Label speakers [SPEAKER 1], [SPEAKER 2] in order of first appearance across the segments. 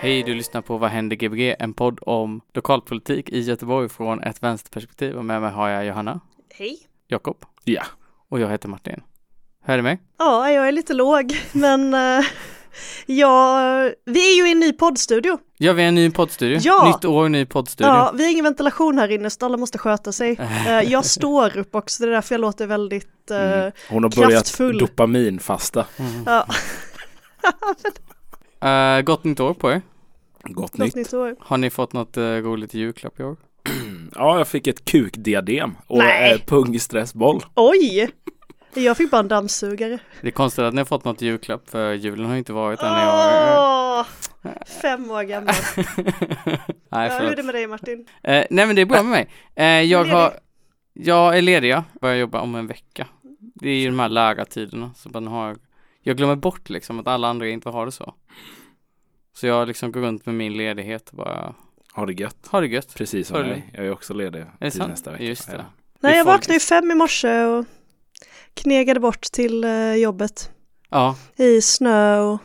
[SPEAKER 1] Hej, du lyssnar på Vad händer Gbg? En podd om lokalpolitik i Göteborg från ett vänsterperspektiv. Och med mig har jag Johanna,
[SPEAKER 2] Hej.
[SPEAKER 1] Jakob
[SPEAKER 3] Ja.
[SPEAKER 1] och jag heter Martin. Hör du mig?
[SPEAKER 2] Ja, jag är lite låg, men eh, ja, vi är ju i en ny poddstudio.
[SPEAKER 1] Ja, vi är en ny poddstudio.
[SPEAKER 2] Ja!
[SPEAKER 1] Nytt år, ny poddstudio.
[SPEAKER 2] Ja, vi har ingen ventilation här inne, så alla måste sköta sig. Eh, jag står upp också, det är därför jag låter väldigt... eh,
[SPEAKER 3] Mm. Hon har börjat
[SPEAKER 2] kraftfull.
[SPEAKER 3] dopaminfasta.
[SPEAKER 1] Mm.
[SPEAKER 2] ja,
[SPEAKER 1] Eh, gott nytt år på er.
[SPEAKER 3] Gott
[SPEAKER 2] något
[SPEAKER 3] nytt.
[SPEAKER 2] nytt år.
[SPEAKER 1] Har ni fått något eh, roligt julklapp i år?
[SPEAKER 3] Ja, jag fick ett kukdiadem och
[SPEAKER 2] Nej.
[SPEAKER 3] eh, pungstressboll.
[SPEAKER 2] Oj! Jag fick bara en dammsugare.
[SPEAKER 1] Det är konstigt att ni har fått något julklapp för julen har ju inte varit än i år.
[SPEAKER 2] Åh, fem år gammal.
[SPEAKER 1] Nej,
[SPEAKER 2] Ja, hur är
[SPEAKER 1] förlåt.
[SPEAKER 2] det med dig Martin?
[SPEAKER 1] Eh, nej, men det är bra med mig. Eh, jag
[SPEAKER 2] Ledig.
[SPEAKER 1] har, jag är ledig, jag börjar jobba om en vecka. Det är ju de här lärartiderna, så man har, jag glömmer bort liksom att alla andra inte har det så. Så jag liksom går runt med min ledighet och bara,
[SPEAKER 3] Har det gött.
[SPEAKER 1] har det gött.
[SPEAKER 3] Precis som
[SPEAKER 1] Har du
[SPEAKER 3] mig. Jag är också ledig
[SPEAKER 1] det
[SPEAKER 3] till
[SPEAKER 1] sant?
[SPEAKER 3] nästa vecka.
[SPEAKER 1] Just det.
[SPEAKER 3] Ja.
[SPEAKER 2] Nej,
[SPEAKER 1] är
[SPEAKER 2] jag
[SPEAKER 1] folk-
[SPEAKER 2] vaknade ju fem i morse och knegade bort till eh, jobbet
[SPEAKER 1] Ja,
[SPEAKER 2] i snö och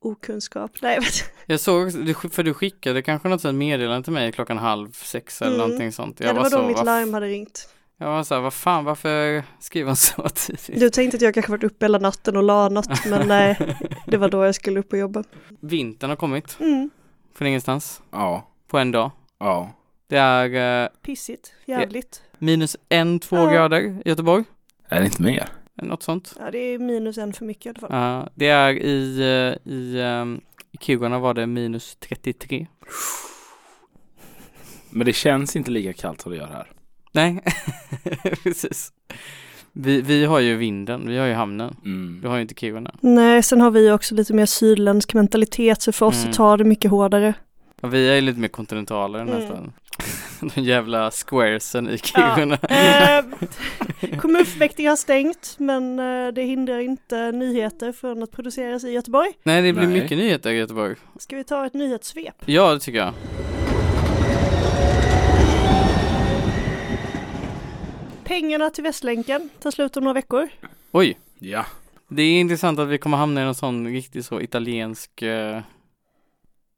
[SPEAKER 2] okunskap. Nej, jag vet inte.
[SPEAKER 1] jag såg, också- du sk- för du skickade kanske något sånt meddelande till mig klockan halv sex eller
[SPEAKER 2] Mm.
[SPEAKER 1] någonting sånt.
[SPEAKER 2] Ja, det var
[SPEAKER 1] bara
[SPEAKER 2] då
[SPEAKER 1] så,
[SPEAKER 2] mitt
[SPEAKER 1] "Vad
[SPEAKER 2] larm hade ringt.
[SPEAKER 1] Jag var så här, vad fan, varför skrev han så tidigt?
[SPEAKER 2] Du tänkte att jag kanske varit uppe hela natten och la något, men nej, det var då jag skulle upp och jobba.
[SPEAKER 1] Vintern har kommit
[SPEAKER 2] Mm.
[SPEAKER 1] från ingenstans
[SPEAKER 3] Ja.
[SPEAKER 1] på en dag.
[SPEAKER 3] Ja.
[SPEAKER 1] Det är eh,
[SPEAKER 2] Pissigt, jävligt.
[SPEAKER 1] minus en, två
[SPEAKER 2] Ja.
[SPEAKER 1] grader i Göteborg,
[SPEAKER 3] Är det inte mer?
[SPEAKER 1] något sånt.
[SPEAKER 2] Ja, det är minus en för mycket i alla fall.
[SPEAKER 1] Ja, det är i, eh, i, ehm, i Kiruna var det minus 33.
[SPEAKER 3] Men det känns inte lika kallt som det gör här.
[SPEAKER 1] Nej, precis. Vi, vi har ju vinden, vi har ju hamnen. Du
[SPEAKER 3] Mm.
[SPEAKER 1] har ju inte Kiruna.
[SPEAKER 2] Nej, sen har vi också lite mer sydländsk mentalitet, så för oss
[SPEAKER 1] Mm.
[SPEAKER 2] så tar det mycket hårdare.
[SPEAKER 1] Ja, vi är ju lite mer kontinentaler
[SPEAKER 2] Mm.
[SPEAKER 1] nästan. De jävla squaresen i Kiruna.
[SPEAKER 2] Ehm, kommunfullmäktige har stängt, men eh, det hindrar inte nyheter från att produceras i Göteborg.
[SPEAKER 1] Nej, det blir
[SPEAKER 3] Nej.
[SPEAKER 1] mycket nyheter i Göteborg.
[SPEAKER 2] Ska vi ta ett nyhetssvep?
[SPEAKER 1] Ja, det tycker jag.
[SPEAKER 2] Pengarna till Västlänken tar slut om några veckor.
[SPEAKER 1] Oj,
[SPEAKER 3] Ja.
[SPEAKER 1] det är intressant att vi kommer hamna i någon sån riktigt så italiensk, eh,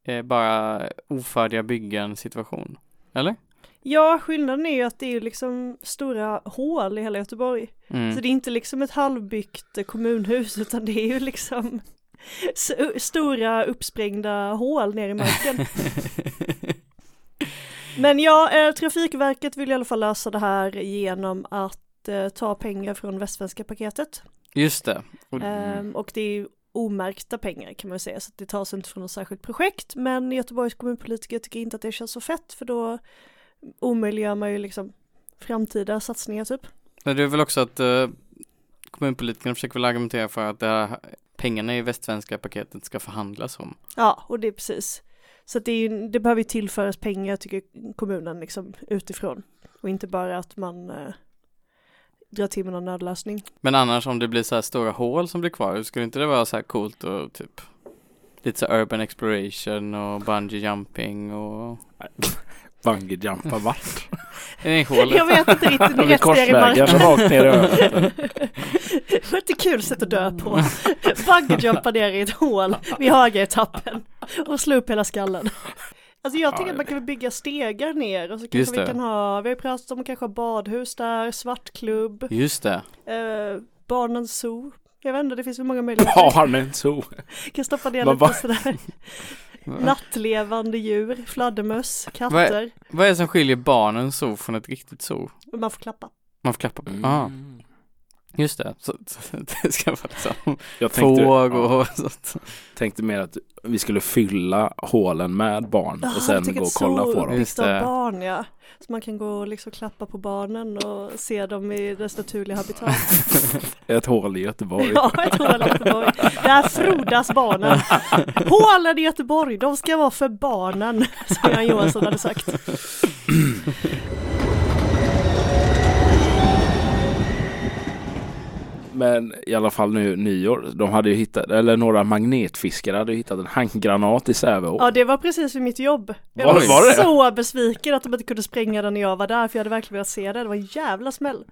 [SPEAKER 1] eh, bara ofärdiga byggen situation. Eller?
[SPEAKER 2] Ja, skillnaden är ju att det är ju liksom stora hål i hela Göteborg. Så
[SPEAKER 1] Mm.
[SPEAKER 2] det är inte liksom ett halvbyggt kommunhus utan det är ju liksom s- stora uppsprängda hål ner i marken. Men ja, eh, Trafikverket vill i alla fall lösa det här genom att eh, ta pengar från Västsvenska paketet.
[SPEAKER 1] Just det. Och-
[SPEAKER 2] Ehm, och det är ju omärkta pengar kan man ju säga så att det tas inte från något särskilt projekt. Men Göteborgs kommunpolitiker tycker inte att det känns så fett för då omöjliggör man ju liksom framtida satsningar typ.
[SPEAKER 1] Nej, det är väl också att eh, kommunpolitikerna försöker väl argumentera för att det här, pengarna i västsvenska paketet ska förhandlas om.
[SPEAKER 2] Ja, och det är precis. Så att det, är ju, det behöver ju tillföras pengar tycker kommunen liksom utifrån. Och inte bara att man eh, drar till med någon nödlösning.
[SPEAKER 1] Men annars om det blir så här stora hål som blir kvar, skulle inte det vara så här coolt och typ lite så här urban exploration och bungee jumping och
[SPEAKER 3] Bungyjumpa vart?
[SPEAKER 1] det är hål.
[SPEAKER 2] Jag vet inte riktigt, nu
[SPEAKER 3] Över
[SPEAKER 2] rätt ner i
[SPEAKER 3] korsvägen
[SPEAKER 2] marken.
[SPEAKER 3] rakt ner i öronen.
[SPEAKER 2] Det var ett kul sätt att dö på. Bungyjumpa ner i ett hål vid Hagaetappen och slå upp hela skallen. Alltså jag
[SPEAKER 3] Ja,
[SPEAKER 2] tänker att
[SPEAKER 3] det-
[SPEAKER 2] man kan väl bygga stegar ner och så
[SPEAKER 1] Just
[SPEAKER 2] kanske vi
[SPEAKER 1] det.
[SPEAKER 2] kan ha, vi har ju pratat om att kanske ha badhus där, svartklubb,
[SPEAKER 1] Just det.
[SPEAKER 2] eh, barnens zoo. Jag vet inte, det finns så många möjligheter.
[SPEAKER 3] Barnen så.
[SPEAKER 2] Kan stoppa ner
[SPEAKER 3] Vad
[SPEAKER 2] lite
[SPEAKER 3] va-
[SPEAKER 2] sådär nattlevande djur, fladdermöss, katter.
[SPEAKER 1] Vad är det som skiljer barnens zoo från ett riktigt zoo?
[SPEAKER 2] Och man får klappa.
[SPEAKER 1] Man får klappa på.
[SPEAKER 3] Mm.
[SPEAKER 1] Ah, Just det, så, så, det ska vara liksom
[SPEAKER 3] Jag tänkte,
[SPEAKER 1] tåg
[SPEAKER 3] ja,
[SPEAKER 1] och sånt.
[SPEAKER 3] tänkte mer att vi skulle fylla hålen med barn
[SPEAKER 2] Ah,
[SPEAKER 3] och sen
[SPEAKER 2] tänk
[SPEAKER 3] gå
[SPEAKER 2] ett
[SPEAKER 3] och kolla
[SPEAKER 2] zoo
[SPEAKER 3] på dem.
[SPEAKER 1] Just
[SPEAKER 2] uppbyggt av
[SPEAKER 1] det.
[SPEAKER 2] barn ja. Så man kan gå och liksom klappa på barnen och se dem i dess naturliga habitat.
[SPEAKER 3] Ett hål i Göteborg.
[SPEAKER 2] ja, ett hål i Göteborg. Där frodas barnen. Hålen i Göteborg, de ska vara för barnen, som Göran Johansson hade sagt.
[SPEAKER 3] Men i alla fall nu nyår, de hade ju hittat, eller några magnetfiskare hade ju hittat en handgranat i Sävehof.
[SPEAKER 2] Ja, det var precis vid mitt jobb. Jag
[SPEAKER 3] Var-
[SPEAKER 2] var,
[SPEAKER 3] var det?
[SPEAKER 2] så besviken att de inte kunde spränga den när jag var där, för jag hade verkligen velat se det. Det var en jävla smäll.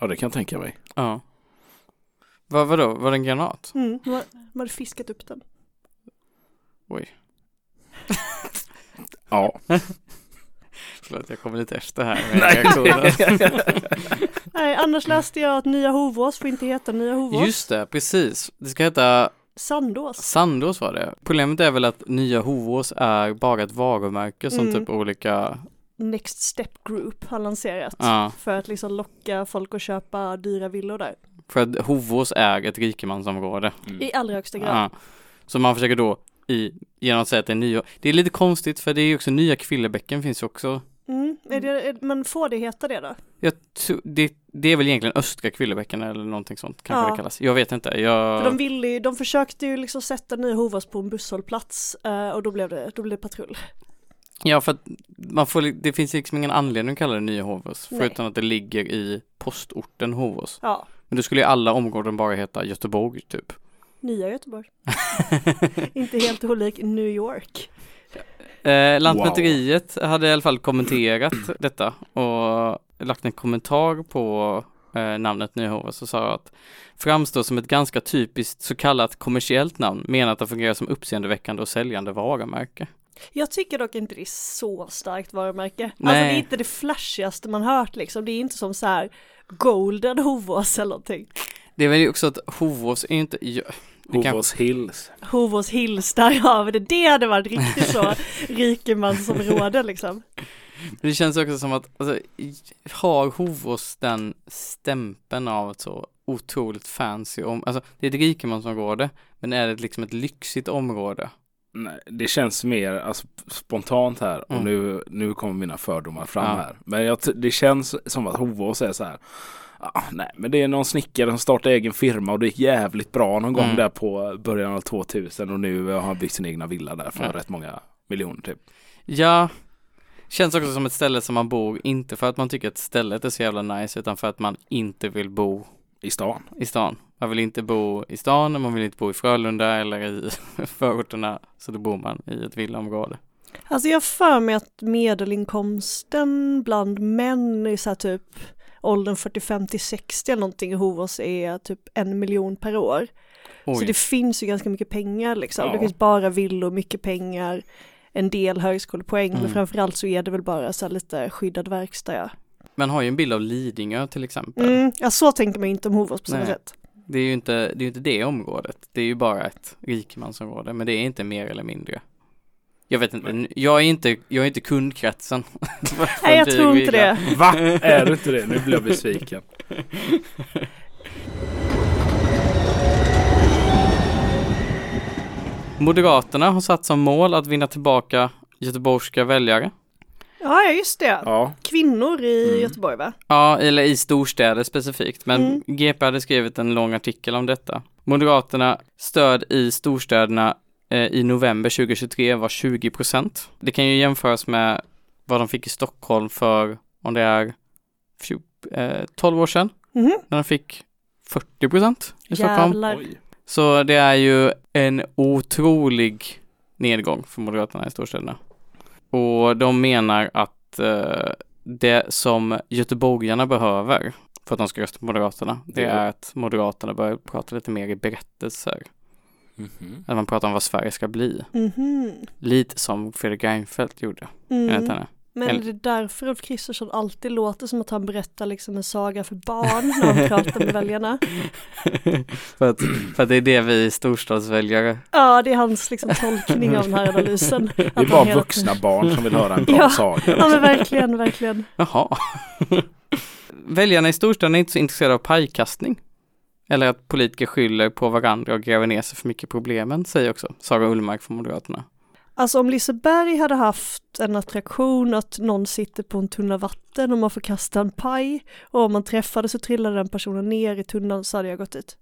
[SPEAKER 3] Ja, det kan jag tänka mig.
[SPEAKER 1] Ja. Vad, vadå, var det en granat?
[SPEAKER 2] Mm, de hade- de hade fiskat upp den.
[SPEAKER 3] Ja.
[SPEAKER 1] Förlåt, jag kommer lite efter här med reaktionen.
[SPEAKER 2] Nej, annars läste jag att Nya Hovås får inte heta Nya Hovås.
[SPEAKER 1] Mm. Just det, precis. Det ska heta
[SPEAKER 2] Sandås.
[SPEAKER 1] Sandås var det. Problemet är väl att nya Hovås är bara ett varumärke som
[SPEAKER 2] Mm.
[SPEAKER 1] typ olika,
[SPEAKER 2] Next Step Group har lanserat.
[SPEAKER 1] ja.
[SPEAKER 2] För att liksom locka folk att köpa dyra villor där.
[SPEAKER 1] För att Hovås är ett rikemansområde.
[SPEAKER 2] I allra högsta grad.
[SPEAKER 1] Ja. Så man försöker då i, genom att säga att det är nya, det är lite konstigt för det är ju också nya Kvillebäcken finns ju också.
[SPEAKER 2] Mm. Är det, är, men får det heta det då?
[SPEAKER 1] Jag tror, det, det är väl egentligen östra Kvillebäcken eller någonting sånt kanske
[SPEAKER 2] Ja.
[SPEAKER 1] det kallas. Jag vet inte,
[SPEAKER 2] För
[SPEAKER 1] jag...
[SPEAKER 2] de ville ju, de försökte ju liksom sätta Nya Hovås på en busshållplats eh, och då blev det, då blev det patrull.
[SPEAKER 1] Ja, för att man får, li- det finns liksom ingen anledning att kalla det Nya Hovås,
[SPEAKER 2] Nej.
[SPEAKER 1] förutom att det ligger i postorten Hovås.
[SPEAKER 2] Ja,
[SPEAKER 1] Men då skulle ju alla områden bara heta Göteborg, typ.
[SPEAKER 2] Nya Göteborg. Inte helt olik New York.
[SPEAKER 1] Eh, Lantmäteriet hade i alla fall kommenterat detta och lagt en kommentar på eh, namnet Nya Hovås och sa att framstår som ett ganska typiskt så kallat kommersiellt namn, menat att fungera som uppseendeväckande och säljande varumärke.
[SPEAKER 2] Jag tycker dock inte det är så starkt varumärke. Alltså
[SPEAKER 1] Nej.
[SPEAKER 2] det är inte det flashigaste man hört liksom. Det är inte som så här Golden Hovås eller någonting.
[SPEAKER 1] Det är väl också att Hovås är ju inte, ja, det kanske-
[SPEAKER 3] Hovås Hills.
[SPEAKER 2] Hovås Hills, där har vi det. Det hade varit riktigt så rikemansområde liksom.
[SPEAKER 1] Men Det känns också som att, alltså, i- har Hovås den stämpeln av ett så otroligt fancy om, alltså det är ett rikemansområde, men är det liksom ett lyxigt område?
[SPEAKER 3] Nej, det känns mer alltså, spontant här och
[SPEAKER 1] Mm.
[SPEAKER 3] nu, nu kommer mina fördomar fram
[SPEAKER 1] Ja.
[SPEAKER 3] här. Men jag, t- det känns som att Hovås är så här. Ah, nej, men det är någon snickare som startade egen firma och det gick jävligt bra någon gång
[SPEAKER 1] Mm.
[SPEAKER 3] där på början av 2000 och nu har han byggt sin egna villa där för
[SPEAKER 1] Ja.
[SPEAKER 3] rätt många miljoner typ.
[SPEAKER 1] Ja, känns också som ett ställe som man bor, inte för att man tycker att stället är så jävla nice, utan för att man inte vill bo
[SPEAKER 3] I stan.
[SPEAKER 1] i stan. Man vill inte bo i stan, och man vill inte bo i Frölunda eller i förorterna, så då bor man i ett villaområde.
[SPEAKER 2] Alltså jag har för mig att medelinkomsten bland män i så här typ åldern 45 till 60 eller någonting i Hovås är typ en miljon per år. Så
[SPEAKER 1] Oj,
[SPEAKER 2] det finns ju ganska mycket pengar liksom.
[SPEAKER 3] Ja.
[SPEAKER 2] Det finns bara villor, mycket pengar, en del högskolepoäng, men
[SPEAKER 1] Mm.
[SPEAKER 2] framförallt så är det väl bara så här lite skyddad verkstad. Ja.
[SPEAKER 1] man har ju en bild av Lidingö till exempel.
[SPEAKER 2] Mm, ja, så tänker man ju inte om Hovås på samma
[SPEAKER 1] Nej.
[SPEAKER 2] sätt.
[SPEAKER 1] Det är ju inte det, är ju inte det området. Det är ju bara ett rikemansområde, men det är inte mer eller mindre. Jag vet inte, jag är inte, jag är inte kundkretsen. för
[SPEAKER 2] Nej, jag
[SPEAKER 1] dyr
[SPEAKER 2] tror
[SPEAKER 1] villa.
[SPEAKER 2] inte det.
[SPEAKER 3] Va? Är du inte det? Nu blir jag besviken.
[SPEAKER 1] Moderaterna har satt som mål att vinna tillbaka göteborgska väljare.
[SPEAKER 2] Ja, ja, just det.
[SPEAKER 3] Ja.
[SPEAKER 2] Kvinnor i
[SPEAKER 3] Mm.
[SPEAKER 2] Göteborg va?
[SPEAKER 1] Ja, eller i storstäder specifikt, men
[SPEAKER 2] Mm.
[SPEAKER 1] GP hade skrivit en lång artikel om detta. Moderaterna stöd i storstäderna eh, i november 2023 var 20 procent. Det kan ju jämföras med vad de fick i Stockholm för, om det är fjo- eh, 12 år sedan,
[SPEAKER 2] Mhm.
[SPEAKER 1] när de fick 40 procent i Stockholm.
[SPEAKER 2] Jävlar.
[SPEAKER 3] Oj.
[SPEAKER 1] Så det är ju en otrolig nedgång för Moderaterna i storstäderna. Och de menar att eh, det som göteborgarna behöver för att de ska rösta på Moderaterna, det
[SPEAKER 3] Det är-
[SPEAKER 1] är att Moderaterna börjar prata lite mer i berättelser.
[SPEAKER 3] Mhm.
[SPEAKER 1] Att man pratar om vad Sverige ska bli.
[SPEAKER 2] Mhm.
[SPEAKER 1] Lite som Fredrik Reinfeldt gjorde, enligt
[SPEAKER 2] Mm.
[SPEAKER 1] henne.
[SPEAKER 2] Men är
[SPEAKER 1] Eller-
[SPEAKER 2] det därför Ulf Kristersson alltid låter som att han berättar liksom en saga för barn när han pratar med väljarna?
[SPEAKER 1] för, att, för att det är det vi storstadsväljare
[SPEAKER 2] Ja, det är hans liksom tolkning av den här analysen.
[SPEAKER 3] Det är
[SPEAKER 2] Att han
[SPEAKER 3] bara
[SPEAKER 2] hela
[SPEAKER 3] vuxna barn som vill höra en bra
[SPEAKER 2] Ja.
[SPEAKER 3] saga.
[SPEAKER 2] Ja men verkligen, verkligen.
[SPEAKER 1] Jaha. väljarna i storstäderna är inte så intresserade av pajkastning. Eller att politiker skyller på varandra och gräver ner sig för mycket i problemen, säger också Sara Ullmark från Moderaterna.
[SPEAKER 2] Alltså om Liseberg hade haft en attraktion att någon sitter på en tunna vatten och man får kasta en paj och om man träffade så trillade den personen ner i tunnan så hade jag gått dit.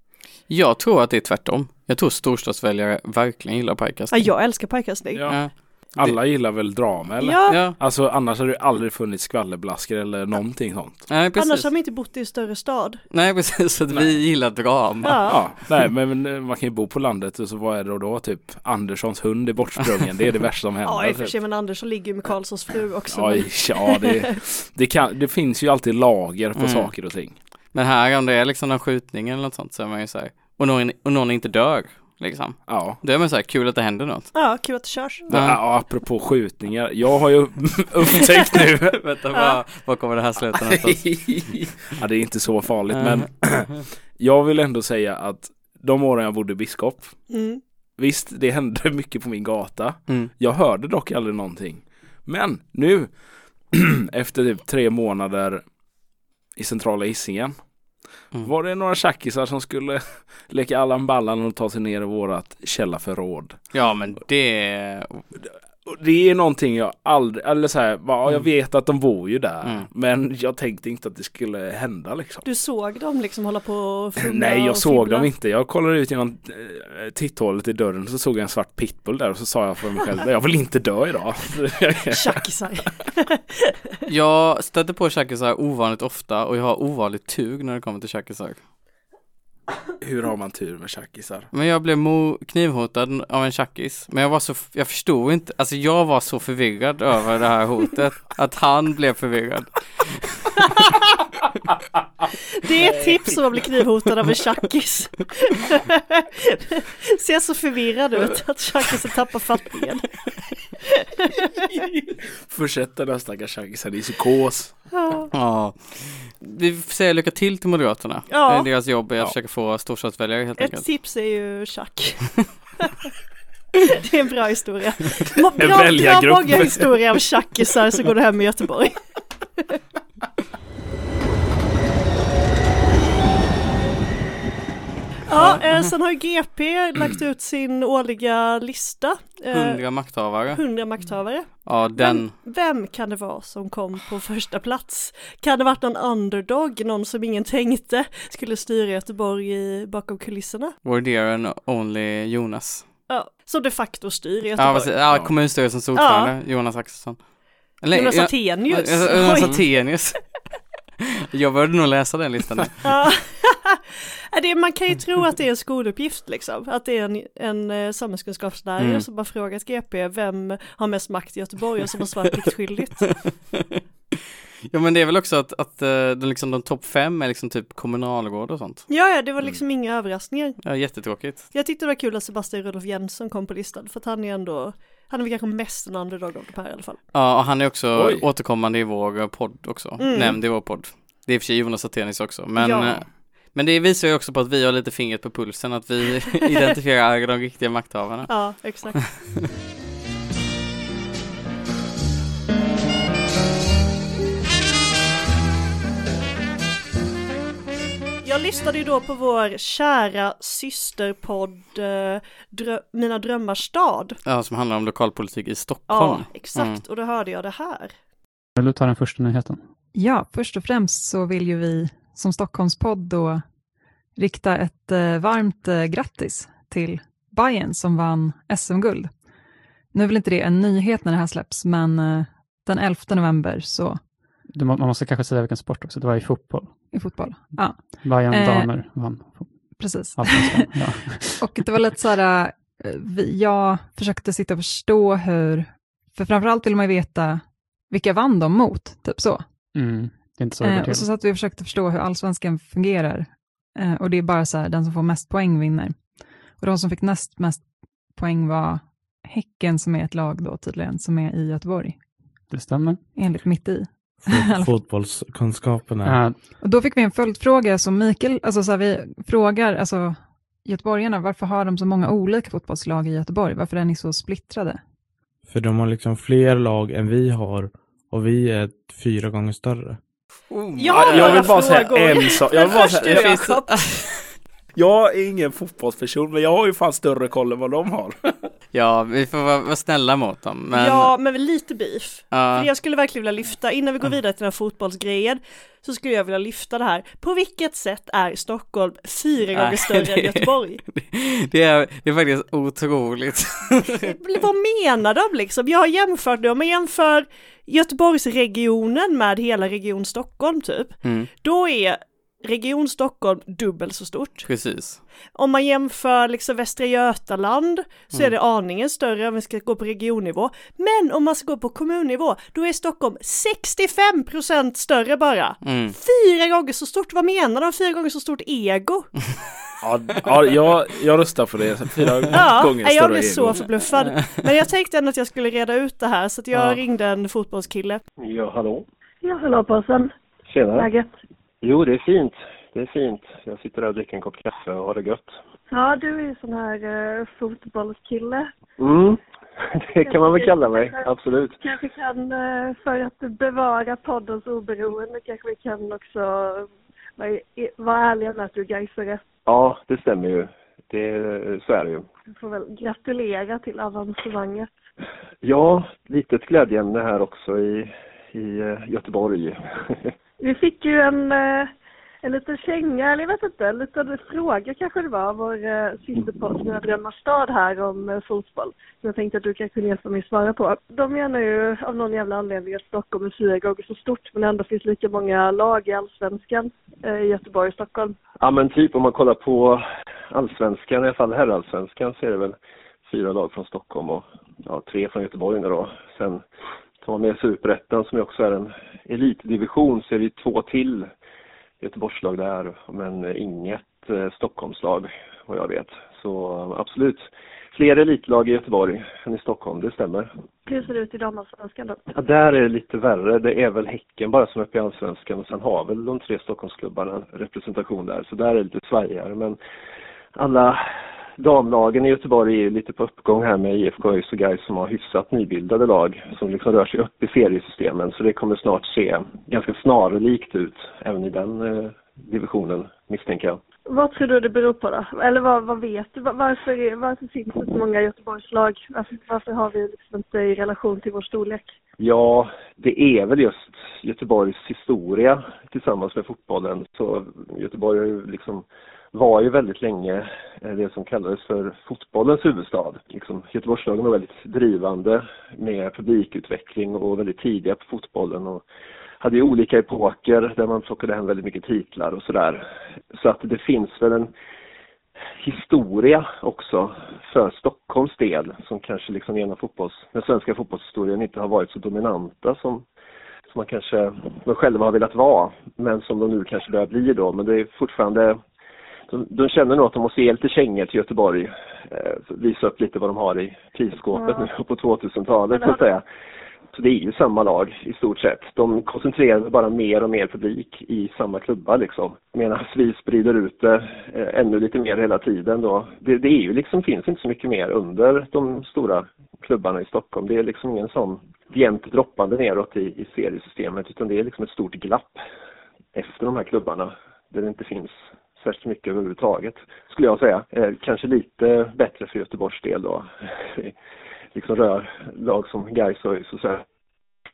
[SPEAKER 1] Jag tror att det är tvärtom. Jag tror storstadsväljare verkligen gillar
[SPEAKER 2] Ja,
[SPEAKER 1] pajkastning.
[SPEAKER 2] jag älskar pajkastning. Ja.
[SPEAKER 3] Ja. Alla gillar väl drama eller?
[SPEAKER 2] Ja,
[SPEAKER 1] ja.
[SPEAKER 3] Alltså annars hade det aldrig funnits skvallerblaskor eller någonting sånt.
[SPEAKER 1] Nej, precis.
[SPEAKER 2] annars har man inte bott i en större stad.
[SPEAKER 1] Nej, precis. Så Att vi gillar drama.
[SPEAKER 2] Ja.
[SPEAKER 3] Ja, nej men eh, man kan ju bo på landet och så vad är det då typ Anderssons hund är bortsprungen, det är det värsta som händer.
[SPEAKER 2] Ja, i och för
[SPEAKER 3] typ.
[SPEAKER 2] sig, men Andersson ligger ju med Karlssons fru också.
[SPEAKER 3] Oj, ja det, det, kan, det finns ju alltid lager på
[SPEAKER 1] Mm.
[SPEAKER 3] saker och ting.
[SPEAKER 1] Men här om det är liksom någon skjutning eller något sånt så är man ju så här, och någon, och någon inte dör, liksom.
[SPEAKER 3] Ja.
[SPEAKER 1] Då är man så här, kul att det händer något.
[SPEAKER 2] Ja, kul att det körs.
[SPEAKER 1] Ja.
[SPEAKER 3] Ja, och apropå skjutningar, jag har ju upptäckt nu
[SPEAKER 1] Vänta, vad, vad kommer det här sluta någonstans?
[SPEAKER 3] ja, det är inte så farligt
[SPEAKER 1] Eh.
[SPEAKER 3] men jag vill ändå säga att de åren jag bodde i Biskop,
[SPEAKER 2] Mm.
[SPEAKER 3] visst det hände mycket på min gata.
[SPEAKER 1] Mm.
[SPEAKER 3] Jag hörde dock aldrig någonting. Men nu, efter typ tre månader i centrala Hisingen,
[SPEAKER 1] Mm.
[SPEAKER 3] var det några tjackisar som skulle leka Allan Ballan och ta sig ner i vårat källarförråd.
[SPEAKER 1] Ja, men det...
[SPEAKER 3] Och det är någonting jag aldrig, eller så här, bara, ja, jag
[SPEAKER 1] Mm.
[SPEAKER 3] vet att de bor ju där,
[SPEAKER 1] Mm.
[SPEAKER 3] men jag tänkte inte att det skulle hända liksom.
[SPEAKER 2] Du såg dem liksom hålla på och fumla
[SPEAKER 3] Nej, jag
[SPEAKER 2] och
[SPEAKER 3] såg
[SPEAKER 2] fibbla.
[SPEAKER 3] dem inte. Jag kollade ut genom eh, titthålet i dörren så såg jag en svart pitbull där och så sa jag för mig själv, jag vill inte dö idag.
[SPEAKER 2] Tjackisar.
[SPEAKER 1] Jag stöter på tjackisar ovanligt ofta och jag har ovanligt tug när det kommer till tjackisar.
[SPEAKER 3] Hur har man tur med tjackisar?
[SPEAKER 1] Men jag blev mo- knivhotad av en tjackis. Men jag var så, jag förstod inte, alltså jag var så förvirrad över det här hotet. Att han blev förvirrad.
[SPEAKER 2] Det är ett tips om man blir knivhotad av en tjackis. Ser så förvirrad ut att tjackisen tappar fattningen.
[SPEAKER 3] Försätt den här stackars tjackisen i psykos.
[SPEAKER 2] Ja.
[SPEAKER 1] Ja. Vi säger lycka till till Moderaterna.
[SPEAKER 2] Ja.
[SPEAKER 1] Det är deras jobb är att
[SPEAKER 3] Ja.
[SPEAKER 1] försöka få storstadsväljare helt
[SPEAKER 2] Ett
[SPEAKER 1] enkelt.
[SPEAKER 2] tips är ju tjack. Det är en bra historia. Må-
[SPEAKER 3] En
[SPEAKER 2] Bra, bra
[SPEAKER 3] väljargrupp.
[SPEAKER 2] många historier av tjackisar så går det hem i Göteborg. Ja, eh, sen har ju GP lagt ut sin årliga lista. Eh,
[SPEAKER 1] Hundra makthavare.
[SPEAKER 2] 100 makthavare.
[SPEAKER 1] Ja, den.
[SPEAKER 2] Vem kan det vara som kom på första plats? Kan det varit någon underdog, någon som ingen tänkte skulle styra Göteborg i, bakom kulisserna?
[SPEAKER 1] Vår dear and only Jonas.
[SPEAKER 2] Ja, som de facto styr
[SPEAKER 1] Ja,
[SPEAKER 2] Göteborg.
[SPEAKER 1] precis. ja,
[SPEAKER 3] Ja.
[SPEAKER 1] kommunstyrelsens ordförande, Jonas Axelsson. Eller,
[SPEAKER 2] Jonas
[SPEAKER 1] ja,
[SPEAKER 2] Attenius.
[SPEAKER 1] ja, Jonas
[SPEAKER 2] Oj.
[SPEAKER 1] Attenius. Jag började nog läsa den listan. nu.
[SPEAKER 2] Ja. Ja, det, man kan ju tro att det är en skoluppgift liksom, att det är en, en eh, samhällskunskapslärare
[SPEAKER 1] Mm.
[SPEAKER 2] som har frågat GP vem har mest makt i Göteborg och som har svarat pliktskyldigt.
[SPEAKER 1] Ja men det är väl också att, att eh, de, liksom, de topp fem är liksom typ kommunalråd och sånt.
[SPEAKER 2] Ja, ja, det var liksom inga överraskningar.
[SPEAKER 1] Ja, jättetråkigt.
[SPEAKER 2] Jag tyckte det var kul att Sebastian Rudolf Jensen kom på listan för att han är ändå, han är väl kanske mest en underdog av de här i alla fall.
[SPEAKER 1] Ja och han är också
[SPEAKER 3] Oj.
[SPEAKER 1] återkommande i vår eh, podd också,
[SPEAKER 2] Mm.
[SPEAKER 1] nämnd i vår podd. Det är i och för sig Jonas Attenius också, men,
[SPEAKER 2] Ja.
[SPEAKER 1] eh, men det visar ju också på att vi har lite fingret på pulsen, att vi identifierar de riktiga makthavarna.
[SPEAKER 2] Ja, exakt. Jag lyssnade ju då på vår kära systerpodd eh, Drö- Mina drömmars stad.
[SPEAKER 1] Ja, som handlar om lokalpolitik i Stockholm.
[SPEAKER 2] Ja, exakt.
[SPEAKER 1] Mm.
[SPEAKER 2] Och då hörde jag det här.
[SPEAKER 4] Vill du ta den första nyheten?
[SPEAKER 5] Ja, först och främst så vill ju vi som Stockholmspodd då rikta ett eh, varmt eh, grattis till Bayern som vann SM-guld. Nu är väl inte det en nyhet när det här släpps, men eh, den 11 november så
[SPEAKER 4] Du, må- man måste kanske säga vilken sport också, det var i fotboll.
[SPEAKER 5] i fotboll. Ja,
[SPEAKER 4] Bayern
[SPEAKER 5] Eh.
[SPEAKER 4] damer vann
[SPEAKER 5] precis.
[SPEAKER 4] allsvenskan. Ja.
[SPEAKER 5] Och det var lite så här, eh, vi- jag försökte sitta och förstå hur, för framförallt vill man ju veta vilka vann de mot, typ så.
[SPEAKER 4] Mm, det är inte så det
[SPEAKER 5] Eh,
[SPEAKER 4] går till.
[SPEAKER 5] och så satt vi och försökte förstå hur allsvenskan fungerar. Eh, och det är bara så här, den som får mest poäng vinner. Och de som fick näst mest poäng var Häcken, som är ett lag då tydligen, som är i Göteborg,
[SPEAKER 4] Det stämmer.
[SPEAKER 5] enligt mitt i.
[SPEAKER 6] Fotbollskunskaperna.
[SPEAKER 4] Eh,
[SPEAKER 5] Och då fick vi en följdfråga som Mikael, alltså så här, vi frågar, alltså göteborgarna, varför har de så många olika fotbollslag i Göteborg? Varför är ni så splittrade?
[SPEAKER 6] För de har liksom fler lag än vi har och vi är fyra gånger större.
[SPEAKER 1] Oh,
[SPEAKER 2] Jag har
[SPEAKER 3] jag
[SPEAKER 2] några
[SPEAKER 3] vill bara säga
[SPEAKER 2] frågor.
[SPEAKER 3] en sak. Jag, vill bara säga,
[SPEAKER 2] Först
[SPEAKER 3] det
[SPEAKER 2] du,
[SPEAKER 3] finns,
[SPEAKER 2] Jakob.
[SPEAKER 3] jag är ingen fotbollsperson, men jag har ju fan större koll än vad de har.
[SPEAKER 1] Ja, vi får vara, vara snälla mot dem. Men,
[SPEAKER 2] Ja, men väl lite beef.
[SPEAKER 1] ja,
[SPEAKER 2] För jag skulle verkligen vilja lyfta, innan vi går vidare till den här fotbollsgrejen, så skulle jag vilja lyfta det här. På vilket sätt är Stockholm fyra gånger
[SPEAKER 1] Nej,
[SPEAKER 2] större än
[SPEAKER 1] det-
[SPEAKER 2] Göteborg?
[SPEAKER 1] det, är, det är faktiskt otroligt.
[SPEAKER 3] Typ.
[SPEAKER 2] Vad menar de liksom? Jag har jämfört det, om man jämför Göteborgsregionen med hela Region Stockholm typ,
[SPEAKER 1] Mm,
[SPEAKER 2] då är Region Stockholm dubbelt så stort.
[SPEAKER 1] precis.
[SPEAKER 2] Om man jämför liksom Västra Götaland så
[SPEAKER 3] Mm.
[SPEAKER 2] är det aningen större om vi ska gå på regionnivå. Men om man ska gå på kommunnivå, då är Stockholm 65% större bara.
[SPEAKER 1] Mm.
[SPEAKER 2] Fyra gånger så stort, vad menar de? Fyra gånger så stort ego?
[SPEAKER 3] Ja, ja, jag, jag röstar för det. Fyra
[SPEAKER 2] Ja,
[SPEAKER 3] gånger
[SPEAKER 2] nej, jag
[SPEAKER 3] större
[SPEAKER 2] blev
[SPEAKER 3] ego.
[SPEAKER 2] så förbluffad. Men jag tänkte ändå att jag skulle reda ut det här så att jag
[SPEAKER 1] Ja.
[SPEAKER 2] ringde en fotbollskille.
[SPEAKER 6] Ja, hallå.
[SPEAKER 7] Ja, hallå påsen.
[SPEAKER 6] Tjena.
[SPEAKER 7] Läget?
[SPEAKER 6] Jo, det är fint. Det är fint. Jag sitter där och dricker en kopp kaffe och har det gött.
[SPEAKER 7] Ja, du är ju sån här eh, fotbollskille.
[SPEAKER 6] Mm, det kan man väl kalla mig. Absolut.
[SPEAKER 7] Kanske kan, eh, för att bevara poddens oberoende, kanske vi kan också eh, vara, i- vara ärliga med att du gaisare.
[SPEAKER 6] Ja, det stämmer ju. Det, så är det ju.
[SPEAKER 7] Du får väl gratulera till avancemanget.
[SPEAKER 6] Ja, litet glädjeämne här också i, i eh, Göteborg.
[SPEAKER 7] Vi fick ju en, eh, en liten känga, eller jag vet inte, en liten fråga kanske det var, vår eh, systerpodd Mina drömmars stad här om eh, fotboll. Som jag tänkte att du kanske kunde hjälpa mig att svara på. De menar ju av någon jävla anledning att Stockholm är fyra gånger så stort men ändå finns lika många lag i Allsvenskan eh, i Göteborg och Stockholm.
[SPEAKER 6] Ja, men typ om man kollar på allsvenskan, i alla fall herrallsvenskan, så är det väl fyra lag från Stockholm och ja, tre från Göteborg nu då. Sen tar man med superettan som ju också är en elitdivision så är det ju två till Göteborgslag där, men inget eh, Stockholmslag vad jag vet. Så eh, absolut, fler elitlag i Göteborg än i Stockholm, det stämmer.
[SPEAKER 7] Hur ser det ut i damallsvenskan då?
[SPEAKER 6] Ja, där är det lite värre. Det är väl Häcken bara som är uppe i Allsvenskan och sen har väl de tre Stockholmsklubbarna representation där. Så där är det lite svajigare. Men alla damlagen i Göteborg är ju lite på uppgång här med IFK ÖIS och Gais som har hyfsat nybildade lag som liksom rör sig upp i seriesystemen. Så det kommer snart se ganska snarlikt ut även i den eh, divisionen misstänker jag.
[SPEAKER 7] Vad tror du det beror på då? Eller vad, vad vet du? Va- Varför, är- varför finns det så många Göteborgslag? Varför, varför har vi liksom inte i relation till vår storlek?
[SPEAKER 6] Ja, det är väl just Göteborgs historia tillsammans med fotbollen. Så Göteborg har ju liksom, var ju väldigt länge eh, det som kallades för fotbollens huvudstad. Liksom, Göteborgslagen var väldigt drivande med publikutveckling och väldigt tidiga på fotbollen och hade ju olika epoker där man plockade hem väldigt mycket titlar och sådär. Så att det finns väl en historia också för Stockholms del som kanske liksom genom fotbolls, den svenska fotbollshistorien inte har varit så dominanta som, som man kanske de själva har velat vara men som de nu kanske börjar bli då men det är fortfarande de, de känner nog att de måste ge lite kängor till Göteborg eh, visa upp lite vad de har i prisskåpet
[SPEAKER 7] Ja.
[SPEAKER 6] nu på 2000-talet så att säga. Så det är ju samma lag i stort sett. De koncentrerar bara mer och mer publik i samma klubbar liksom. Medan vi sprider ut det eh, ännu lite mer hela tiden då. Det, det är ju liksom, finns inte så mycket mer under de stora klubbarna i Stockholm. Det är liksom ingen sån jämnt droppande neråt i, i seriesystemet utan det är liksom ett stort glapp efter de här klubbarna där det inte finns särskilt mycket överhuvudtaget skulle jag säga. Eh, kanske lite bättre för Göteborgs del då. liksom rör lag som Gais och ÖIS och så här.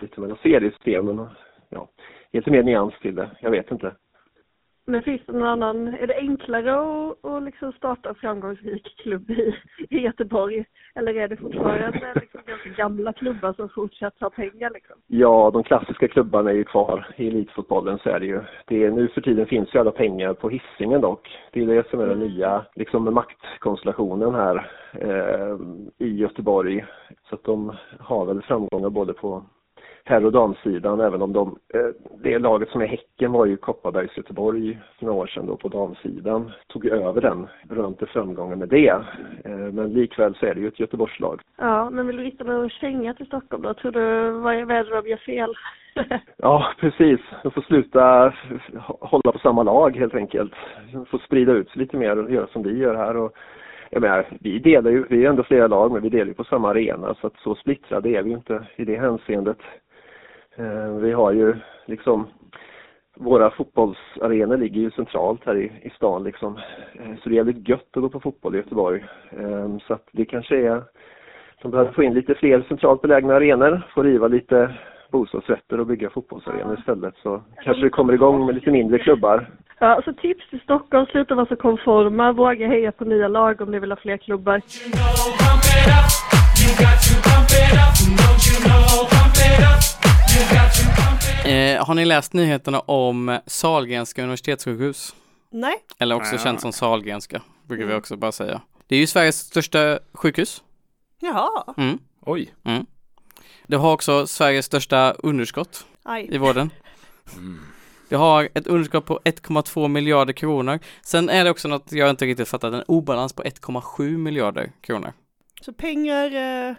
[SPEAKER 6] Lite mellan seriesystemen och ja, lite mer nyans till det. Jag vet inte.
[SPEAKER 7] Men finns det någon annan, är det enklare att, att liksom starta en framgångsrik klubb i, i Göteborg? Eller är det fortfarande liksom ganska gamla klubbar som fortsatt har pengar liksom?
[SPEAKER 6] Ja, de klassiska klubbarna är ju kvar i elitfotbollen så är det ju. Det är, nu för tiden finns ju alla pengar på hissingen dock. Det är det som är den nya liksom, maktkonstellationen här eh, i Göteborg. Så att de har väl framgångar både på herr och damsidan även om de, eh, det laget som är Häcken var ju Kopparbergs Göteborg för några år sedan då på damsidan. Tog ju över den, rönte framgångar med det. Eh, men likväl så är det ju ett Göteborgslag
[SPEAKER 7] Ja, men vill du rikta någon känga till Stockholm då? Tror du, vad är vad är det de gör fel?
[SPEAKER 6] Ja, precis. De får sluta f- hålla på samma lag helt enkelt. De får sprida ut sig lite mer och göra som vi gör här. Och, jag menar, vi delar ju, vi är ändå flera lag men vi delar ju på samma arena så att så splittrade är vi ju inte i det hänseendet. Eh, Vi har ju liksom Våra fotbollsarenor ligger ju centralt här i, i stan liksom. Eh, Så det är jävligt gött att gå på fotboll i Göteborg. Eh, Så att det kanske är, de behöver få in lite fler centralt belägna arenor, få riva lite bostadsrätter och bygga fotbollsarenor istället så kanske det kommer igång med lite mindre klubbar.
[SPEAKER 7] Ja, så tips till Stockholm, sluta vara så konforma, våga heja på nya lag om ni vill ha fler klubbar.
[SPEAKER 1] Eh, har ni läst nyheterna om Sahlgrenska universitetssjukhus?
[SPEAKER 2] Nej,
[SPEAKER 1] Eller också
[SPEAKER 3] Nej.
[SPEAKER 1] känt som Sahlgrenska, brukar vi också bara säga. Det är ju Sveriges största sjukhus.
[SPEAKER 2] jaha,
[SPEAKER 1] Mm.
[SPEAKER 3] Oj.
[SPEAKER 1] Det har också Sveriges största underskott i
[SPEAKER 2] aj.
[SPEAKER 1] vården.
[SPEAKER 3] Mm.
[SPEAKER 1] Det har ett underskott på 1,2 miljarder kronor. Sen är det också något jag inte riktigt fattat, en obalans på 1,7 miljarder kronor.
[SPEAKER 2] Så pengar eh,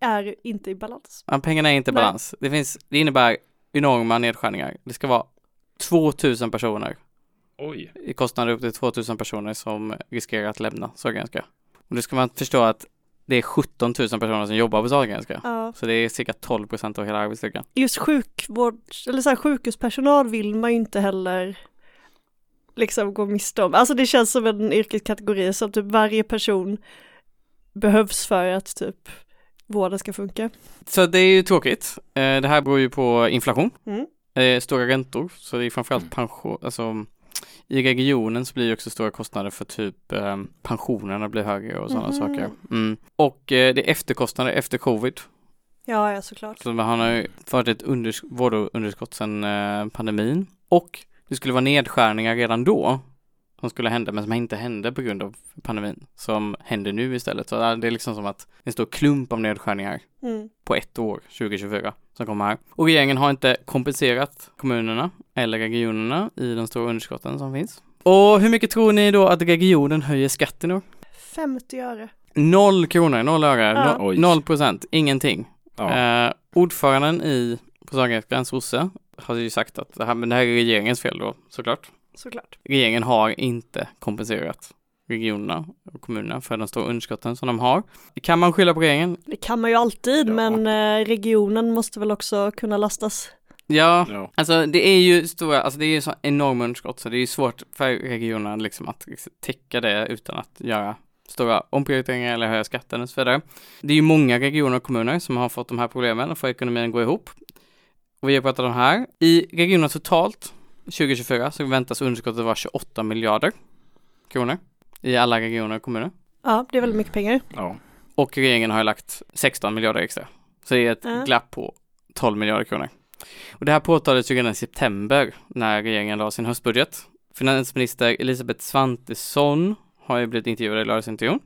[SPEAKER 2] är inte i balans.
[SPEAKER 1] Men pengarna är inte i
[SPEAKER 2] Nej.
[SPEAKER 1] balans. Det, finns, det innebär enorma nedskärningar. Det ska vara 2000 personer
[SPEAKER 3] Oj.
[SPEAKER 1] i kostnader upp till 2000 personer som riskerar att lämna Sahlgrenska. Och då ska man förstå att det är 17 000 personer som jobbar på Sahlgrenska.
[SPEAKER 2] Ja.
[SPEAKER 1] Så det är cirka 12 procent av hela arbetsstyrkan.
[SPEAKER 2] Just sjukvård, eller så här, sjukhuspersonal vill man ju inte heller liksom gå miste om. Alltså det känns som en yrkeskategori som typ varje person behövs för att typ vården ska funka.
[SPEAKER 1] Så det är ju tråkigt. Eh, Det här beror ju på inflation,
[SPEAKER 2] Mm.
[SPEAKER 1] eh, stora räntor, så det är framförallt pension, alltså i regionen så blir det också stora kostnader för typ eh, pensionerna blir högre och sådana
[SPEAKER 2] Mhm.
[SPEAKER 1] saker. Mm. Och eh, det är efterkostnader efter covid.
[SPEAKER 2] Ja, ja såklart.
[SPEAKER 1] Så man har ju varit ett unders- vårdunderskott sedan eh, pandemin. Och det skulle vara nedskärningar redan då som skulle hända men som inte hände på grund av pandemin som händer nu istället. Så eh, det är liksom som att det är en stor klump av nedskärningar
[SPEAKER 2] Mm.
[SPEAKER 1] på ett år, 2024, som kommer här. Och regeringen har inte kompenserat kommunerna eller regionerna i de stora underskotten som finns. Och hur mycket tror ni då att regionen höjer skatten då?
[SPEAKER 2] 50 öre.
[SPEAKER 1] Noll kronor, noll öre,
[SPEAKER 2] Ja.
[SPEAKER 1] no-
[SPEAKER 3] Oj.
[SPEAKER 1] noll procent, ingenting.
[SPEAKER 3] Ja.
[SPEAKER 1] Eh, ordföranden i på Sahlgrenska, sosse, har ju sagt att det här, men det här är regeringens fel då, såklart.
[SPEAKER 2] Såklart.
[SPEAKER 1] Regeringen har inte kompenserat regionerna och kommunerna för de stora underskotten som de har. Kan man skylla på regeringen?
[SPEAKER 2] Det kan man ju alltid,
[SPEAKER 3] Ja.
[SPEAKER 2] men eh, regionen måste väl också kunna lastas.
[SPEAKER 1] Ja,
[SPEAKER 3] Ja.
[SPEAKER 1] Alltså det är ju stora, alltså det är ju så enorma underskott så det är ju svårt för regionerna liksom att liksom täcka det utan att göra stora omprioriteringar eller höja skatten och så vidare. Det är ju många regioner och kommuner som har fått de här problemen och får ekonomin att gå ihop. Och vi har pratat om det här. I regionerna totalt 2024 så väntas underskottet vara 28 miljarder kronor i alla regioner och kommuner.
[SPEAKER 2] Ja, det är väldigt mycket pengar.
[SPEAKER 3] Ja.
[SPEAKER 1] Och regeringen har ju lagt 16 miljarder extra. Så det är ett
[SPEAKER 2] Ja.
[SPEAKER 1] glapp på 12 miljarder kronor. Och det här påtalades ju redan i september när regeringen la sin höstbudget. Finansminister Elisabeth Svantesson har ju blivit intervjuad i lördagsintervjun.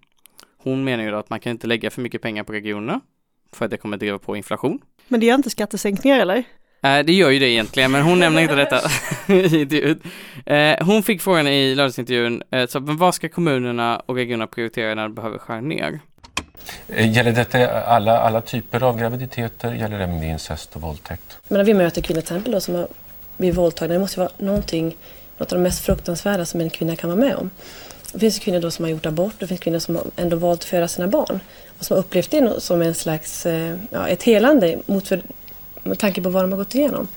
[SPEAKER 1] Hon menar ju då att man kan inte lägga för mycket pengar på regionerna för att det kommer driva på inflation.
[SPEAKER 2] Men det är inte skattesänkningar eller?
[SPEAKER 1] Eh, det gör ju det egentligen, men hon nämner inte detta i intervjun. Eh, hon fick frågan i lördagsintervjun, eh, så, men vad ska kommunerna och regionerna prioritera när de behöver skära ner?
[SPEAKER 8] Eh, Gäller detta alla, alla typer av graviditeter? Gäller det även vid incest och våldtäkt?
[SPEAKER 9] Men när vi möter kvinnor till exempel då, som har blivit våldtagna, det måste ju vara någonting, något av det mest fruktansvärda som en kvinna kan vara med om. Det finns ju kvinnor då som har gjort abort, det finns kvinnor som har ändå valt att föda sina barn och som har upplevt det som en slags, eh, ja, ett helande mot för, med tanke på vad de har gått igenom.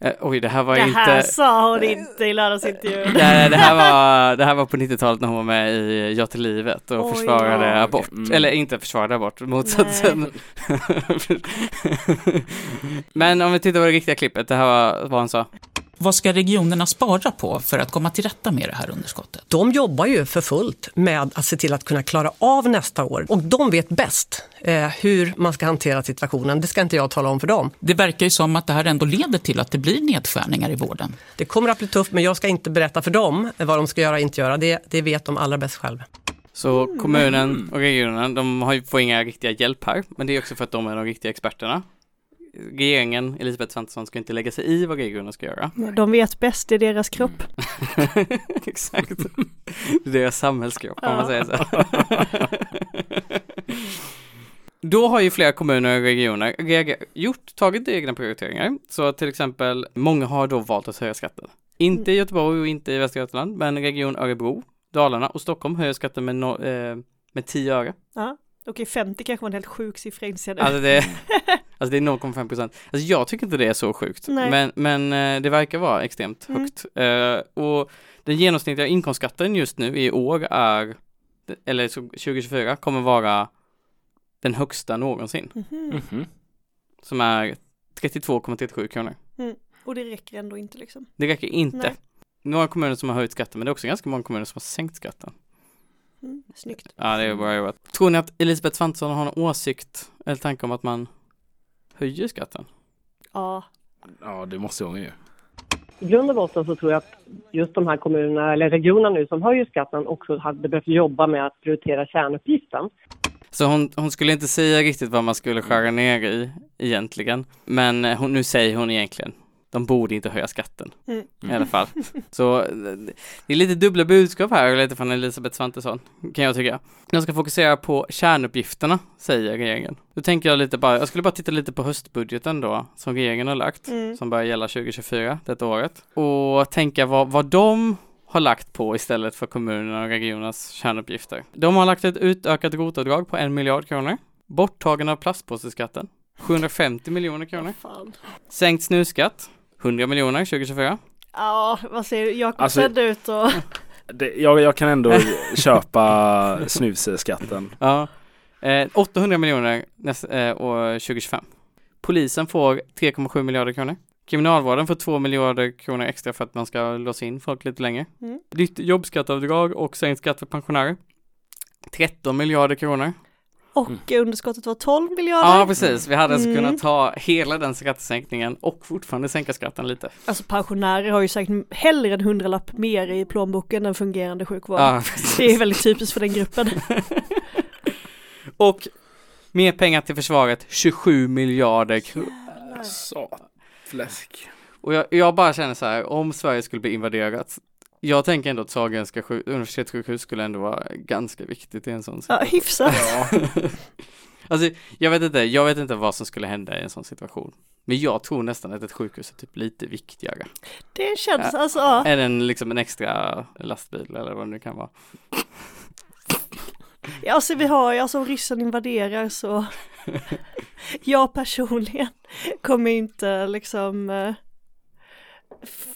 [SPEAKER 1] Eh, oj, det här var
[SPEAKER 2] Det
[SPEAKER 1] inte...
[SPEAKER 2] här sa hon inte i lördagsintervjun.
[SPEAKER 1] Nej, det här var, det här var på 90-talet när hon var med i Ja till livet och
[SPEAKER 2] Oj.
[SPEAKER 1] försvarade
[SPEAKER 3] Ja,
[SPEAKER 1] abort.
[SPEAKER 3] okej. Mm.
[SPEAKER 1] Eller inte försvarade abort, motsatsen. Men om vi tittar på det riktiga klippet, det här var vad han sa.
[SPEAKER 10] Vad ska regionerna spara på för att komma till rätta med det här underskottet?
[SPEAKER 9] De jobbar ju för fullt med att se till att kunna klara av nästa år och de vet bäst eh, hur man ska hantera situationen. Det ska inte jag tala om för dem.
[SPEAKER 10] Det verkar ju som att det här ändå leder till att det blir nedskärningar i vården.
[SPEAKER 9] Det kommer att bli tufft men jag ska inte berätta för dem vad de ska göra och inte göra. Det, det vet de allra bäst själva.
[SPEAKER 1] Så
[SPEAKER 3] Mm.
[SPEAKER 1] kommunen och regionen, de har ju får inga riktiga hjälp här, men det är också för att de är de riktiga experterna. Regeringen, Elisabeth Svantesson, ska inte lägga sig i vad regionen ska göra.
[SPEAKER 2] De vet bäst i deras kropp.
[SPEAKER 1] Exakt. Det är deras samhällskropp om man
[SPEAKER 2] Ja.
[SPEAKER 1] säger så. Då har ju flera kommuner och regioner reager- gjort, tagit egna prioriteringar. Så till exempel, många har då valt att höja skatten. Inte i Göteborg och inte i Västra Götaland, men region Örebro, Dalarna och Stockholm höjer skatten med, no, eh, med 10 öre.
[SPEAKER 2] Okej, 50 kanske var en helt sjuk siffra inser jag nu.
[SPEAKER 1] Alltså det, Alltså det är 0,5 procent. Alltså jag tycker inte det är så sjukt.
[SPEAKER 2] Nej.
[SPEAKER 1] Men, men eh, det verkar vara extremt
[SPEAKER 2] Mm.
[SPEAKER 1] högt. Eh, och den genomsnittliga inkomstskatten just nu i år är, eller så 2024 kommer vara den högsta någonsin.
[SPEAKER 2] Mhm.
[SPEAKER 1] Som är 32,37 kronor.
[SPEAKER 2] Mm. Och det räcker ändå inte liksom.
[SPEAKER 1] Det räcker inte.
[SPEAKER 2] Nej.
[SPEAKER 1] Några kommuner som har höjt skatten men det är också ganska många kommuner som har sänkt skatten.
[SPEAKER 2] Mm. Snyggt.
[SPEAKER 1] Ja det är bra jobbat. Tror ni att Elisabeth Svantesson har någon åsikt eller tanke om att man höjer skatten?
[SPEAKER 2] Ja.
[SPEAKER 3] Ja, det måste hon ju.
[SPEAKER 11] I grund och botten så tror jag att just de här kommunerna eller regionerna nu som höjer skatten också hade behövt jobba med att prioritera kärnuppgiften.
[SPEAKER 1] Så hon, hon skulle inte säga riktigt vad man skulle skära ner i egentligen. Men eh, hon, nu säger hon egentligen, de borde inte höja skatten.
[SPEAKER 2] Mm.
[SPEAKER 1] I alla fall. Så eh, det är lite dubbla budskap här, lite från Elisabeth Svantesson, kan jag tycka. De ska fokusera på kärnuppgifterna, säger regeringen. Då tänker jag lite bara, jag skulle bara titta lite på höstbudgeten då, som regeringen har lagt,
[SPEAKER 2] Mm.
[SPEAKER 1] som börjar gälla 2024, detta året. Och tänka vad, vad de har lagt på istället för kommunerna och regionernas kärnuppgifter. De har lagt ett utökat rotavdrag på en miljard kronor, borttagande av plastpåseskatten, 750 miljoner kronor,
[SPEAKER 2] Fan.
[SPEAKER 1] sänkt snusskatt, 100 miljoner 2024.
[SPEAKER 2] Ja, vad säger du? Jakob
[SPEAKER 3] Alltså-
[SPEAKER 2] sedd ut och...
[SPEAKER 3] Det, jag, jag kan ändå köpa snusskatten.
[SPEAKER 1] Ja. Eh, 800 miljoner näst, eh, år 2025. Polisen får 3,7 miljarder kronor. Kriminalvården får 2 miljarder kronor extra för att man ska låsa in folk lite längre.
[SPEAKER 2] Mm.
[SPEAKER 1] Nytt jobbskatteavdrag och sänkt skatt för pensionärer. 13 miljarder kronor.
[SPEAKER 2] Och underskottet var 12 miljarder.
[SPEAKER 1] Ja, precis. Vi hade alltså
[SPEAKER 2] Mm.
[SPEAKER 1] kunnat ta hela den skattesänkningen och fortfarande sänka skatten lite.
[SPEAKER 2] Alltså pensionärer har ju säkert hellre en hundralapp mer i plånboken än fungerande sjukvård.
[SPEAKER 1] Ja, precis.
[SPEAKER 2] det är väldigt typiskt för den gruppen.
[SPEAKER 1] Och mer pengar till försvaret, 27 miljarder kronor.
[SPEAKER 3] Fläsk.
[SPEAKER 1] Och jag, jag bara känner så här, om Sverige skulle bli invaderat, jag tänker ändå att Sahlgrenska sjuk- universitetssjukhus skulle ändå vara ganska viktigt i en sån
[SPEAKER 2] Ja,
[SPEAKER 1] situation.
[SPEAKER 2] hyfsat.
[SPEAKER 1] Alltså, jag vet inte, jag vet inte vad som skulle hända i en sån situation. Men jag tror nästan att ett sjukhus är typ lite viktigare.
[SPEAKER 2] Det känns
[SPEAKER 1] Ja.
[SPEAKER 2] alltså, ja.
[SPEAKER 1] Än en, liksom en extra lastbil eller vad det nu kan vara.
[SPEAKER 2] Ja, Alltså vi har ju, alltså om ryssen invaderar så jag personligen kommer inte liksom eh, f-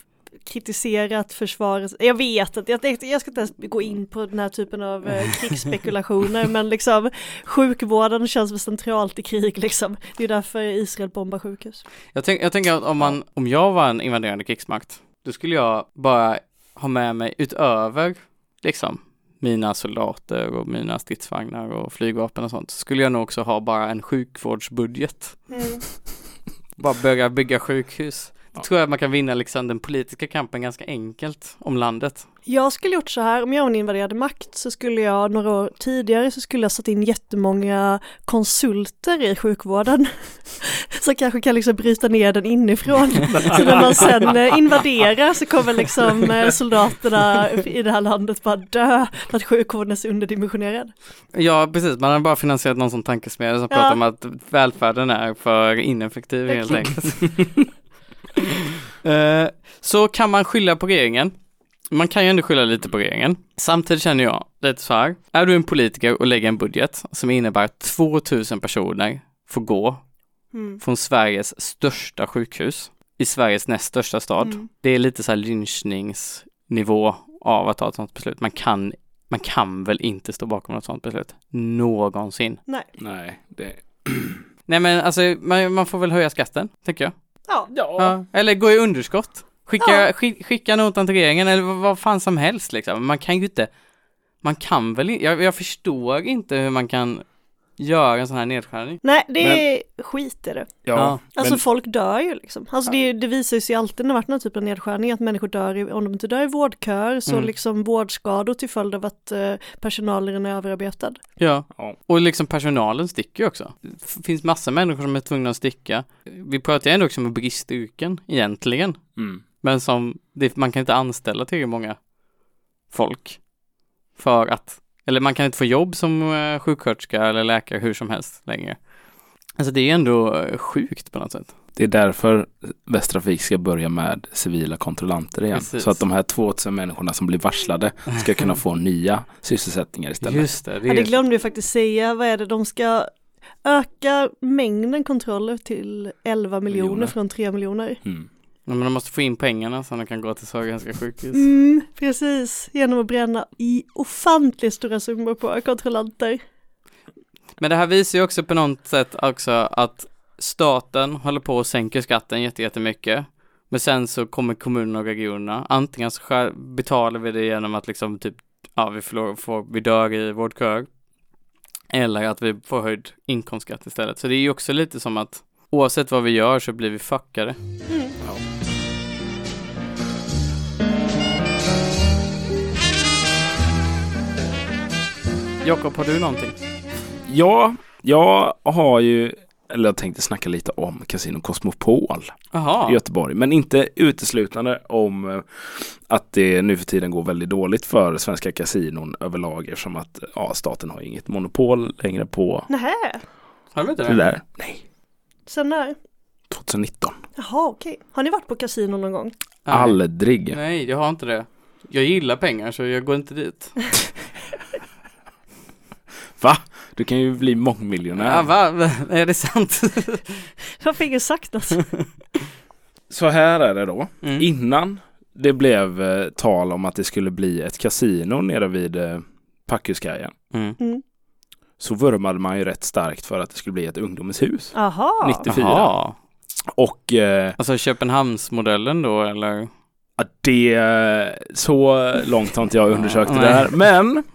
[SPEAKER 2] kritisera att försvaret, jag vet att jag, tänkte- jag ska inte ens gå in på den här typen av eh, krigsspekulationer men liksom sjukvården känns väl centralt i krig liksom. Det är därför Israel bombar sjukhus.
[SPEAKER 1] Jag, tänk, jag tänker att om, man, om jag var en invaderande krigsmakt, då skulle jag bara ha med mig utöver liksom mina soldater och mina stridsvagnar och flygvapen och sånt, så skulle jag nog också ha bara en sjukvårdsbudget. Bara börja bygga sjukhus. Då tror jag man kan vinna liksom den politiska kampen ganska enkelt om landet.
[SPEAKER 2] Jag skulle gjort så här, om jag var en invaderad makt så skulle jag några år tidigare så skulle jag satt in jättemånga konsulter i sjukvården. Som kanske kan liksom bryta ner den inifrån. Så när man sen eh, invaderar så kommer liksom eh, soldaterna i det här landet bara dö för att sjukvården är så underdimensionerad.
[SPEAKER 1] Ja, precis. Man har bara finansierat någon som tankesmedja som
[SPEAKER 2] Ja.
[SPEAKER 1] pratar om att välfärden är för ineffektiv helt enkelt. Eh, så kan man skylla på regeringen. Man kan ju ändå skylla lite på regeringen. Samtidigt känner jag lite så här. Är du en politiker och lägger en budget som innebär att 2000 personer får gå
[SPEAKER 2] Mm.
[SPEAKER 1] från Sveriges största sjukhus i Sveriges näst största stad.
[SPEAKER 2] Mm.
[SPEAKER 1] Det är lite så här lynchningsnivå av att ta ett sånt beslut. Man kan, man kan väl inte stå bakom något sånt beslut någonsin.
[SPEAKER 2] Nej.
[SPEAKER 3] Nej, det...
[SPEAKER 1] Nej men alltså man, man får väl höja skatten, tycker jag.
[SPEAKER 2] Ja.
[SPEAKER 1] Ja, eller gå i underskott. Skicka, skick, skicka notan till regeringen eller vad- vad fan som helst liksom. Man kan ju inte, man kan väl inte, jag, jag förstår inte hur man kan göra en sån här nedskärning.
[SPEAKER 2] Nej, det är skit är det.
[SPEAKER 1] Ja,
[SPEAKER 2] Alltså
[SPEAKER 1] men-
[SPEAKER 2] folk dör ju liksom. Alltså det, är ju- det visar ju sig alltid när det har varit någon typ av nedskärning att människor dör, i, om de inte dör i vårdköer så
[SPEAKER 1] Mm.
[SPEAKER 2] liksom vårdskador till följd av att eh, personalen är överarbetad.
[SPEAKER 1] Ja, och liksom personalen sticker ju också. Det finns massa människor som är tvungna att sticka. Vi pratar ju ändå också om bristyrken egentligen.
[SPEAKER 3] Mm.
[SPEAKER 1] Men som, det, man kan inte anställa tillräckligt många folk. För att, eller man kan inte få jobb som eh, sjuksköterska eller läkare hur som helst längre. Alltså det är ändå eh, sjukt på något sätt.
[SPEAKER 3] Det är därför Västtrafik ska börja med civila kontrollanter igen.
[SPEAKER 1] Precis.
[SPEAKER 3] Så att de här 2000 människorna som blir varslade ska kunna få nya sysselsättningar istället.
[SPEAKER 1] Just det,
[SPEAKER 2] Ja, det glömde jag faktiskt säga, vad är det de ska öka mängden kontroller till 11 miljoner,
[SPEAKER 1] Miljoner.
[SPEAKER 2] från 3 miljoner.
[SPEAKER 3] Mm.
[SPEAKER 1] Ja, men de måste få in pengarna så de kan gå till Sahlgrenska sjukhus.
[SPEAKER 2] Mm, precis, genom att bränna i ofantligt stora summor på kontrollanter.
[SPEAKER 1] Men det här visar ju också på något sätt också att staten håller på och sänker skatten jätte- jättemycket. Men sen så kommer kommunerna och regionerna. Antingen så skär- betalar vi det genom att liksom typ, ja vi, förlorar, får, vi dör i vårdköer. Eller att vi får höjd inkomstskatt istället. Så det är ju också lite som att oavsett vad vi gör så blir vi fuckade. Jakob, har du någonting?
[SPEAKER 3] Ja, jag har ju, eller jag tänkte snacka lite om Casino Cosmopol
[SPEAKER 1] Jaha.
[SPEAKER 3] i Göteborg, men inte uteslutande om eh, att det nu för tiden går väldigt dåligt för svenska kasinon överlag eftersom att eh, ja, staten har inget monopol längre på
[SPEAKER 2] Nähä,
[SPEAKER 1] Har de inte
[SPEAKER 3] det där.
[SPEAKER 2] sen när?
[SPEAKER 3] 2019.
[SPEAKER 2] Jaha, okej. Har ni varit på kasino någon gång?
[SPEAKER 3] Aldrig.
[SPEAKER 1] Nej, jag har inte det. Jag gillar pengar så jag går inte dit.
[SPEAKER 3] Va? Du kan ju bli mångmiljonär.
[SPEAKER 1] Ja, Ah, va? Är det sant?
[SPEAKER 2] Jag fick ju sagt något.
[SPEAKER 3] Så här är det då.
[SPEAKER 1] Mm.
[SPEAKER 3] Innan det blev eh, tal om att det skulle bli ett kasino nere vid eh, Packhuskajen
[SPEAKER 2] Mm.
[SPEAKER 3] så vurmade man ju rätt starkt för att det skulle bli ett ungdomens hus.
[SPEAKER 2] Aha.
[SPEAKER 3] 94.
[SPEAKER 1] Jaha.
[SPEAKER 3] Och... Eh,
[SPEAKER 1] alltså Köpenhamnsmodellen då eller?
[SPEAKER 3] Ja, det... eh, Så långt har inte jag undersökt det
[SPEAKER 1] Nej.
[SPEAKER 3] där. Men...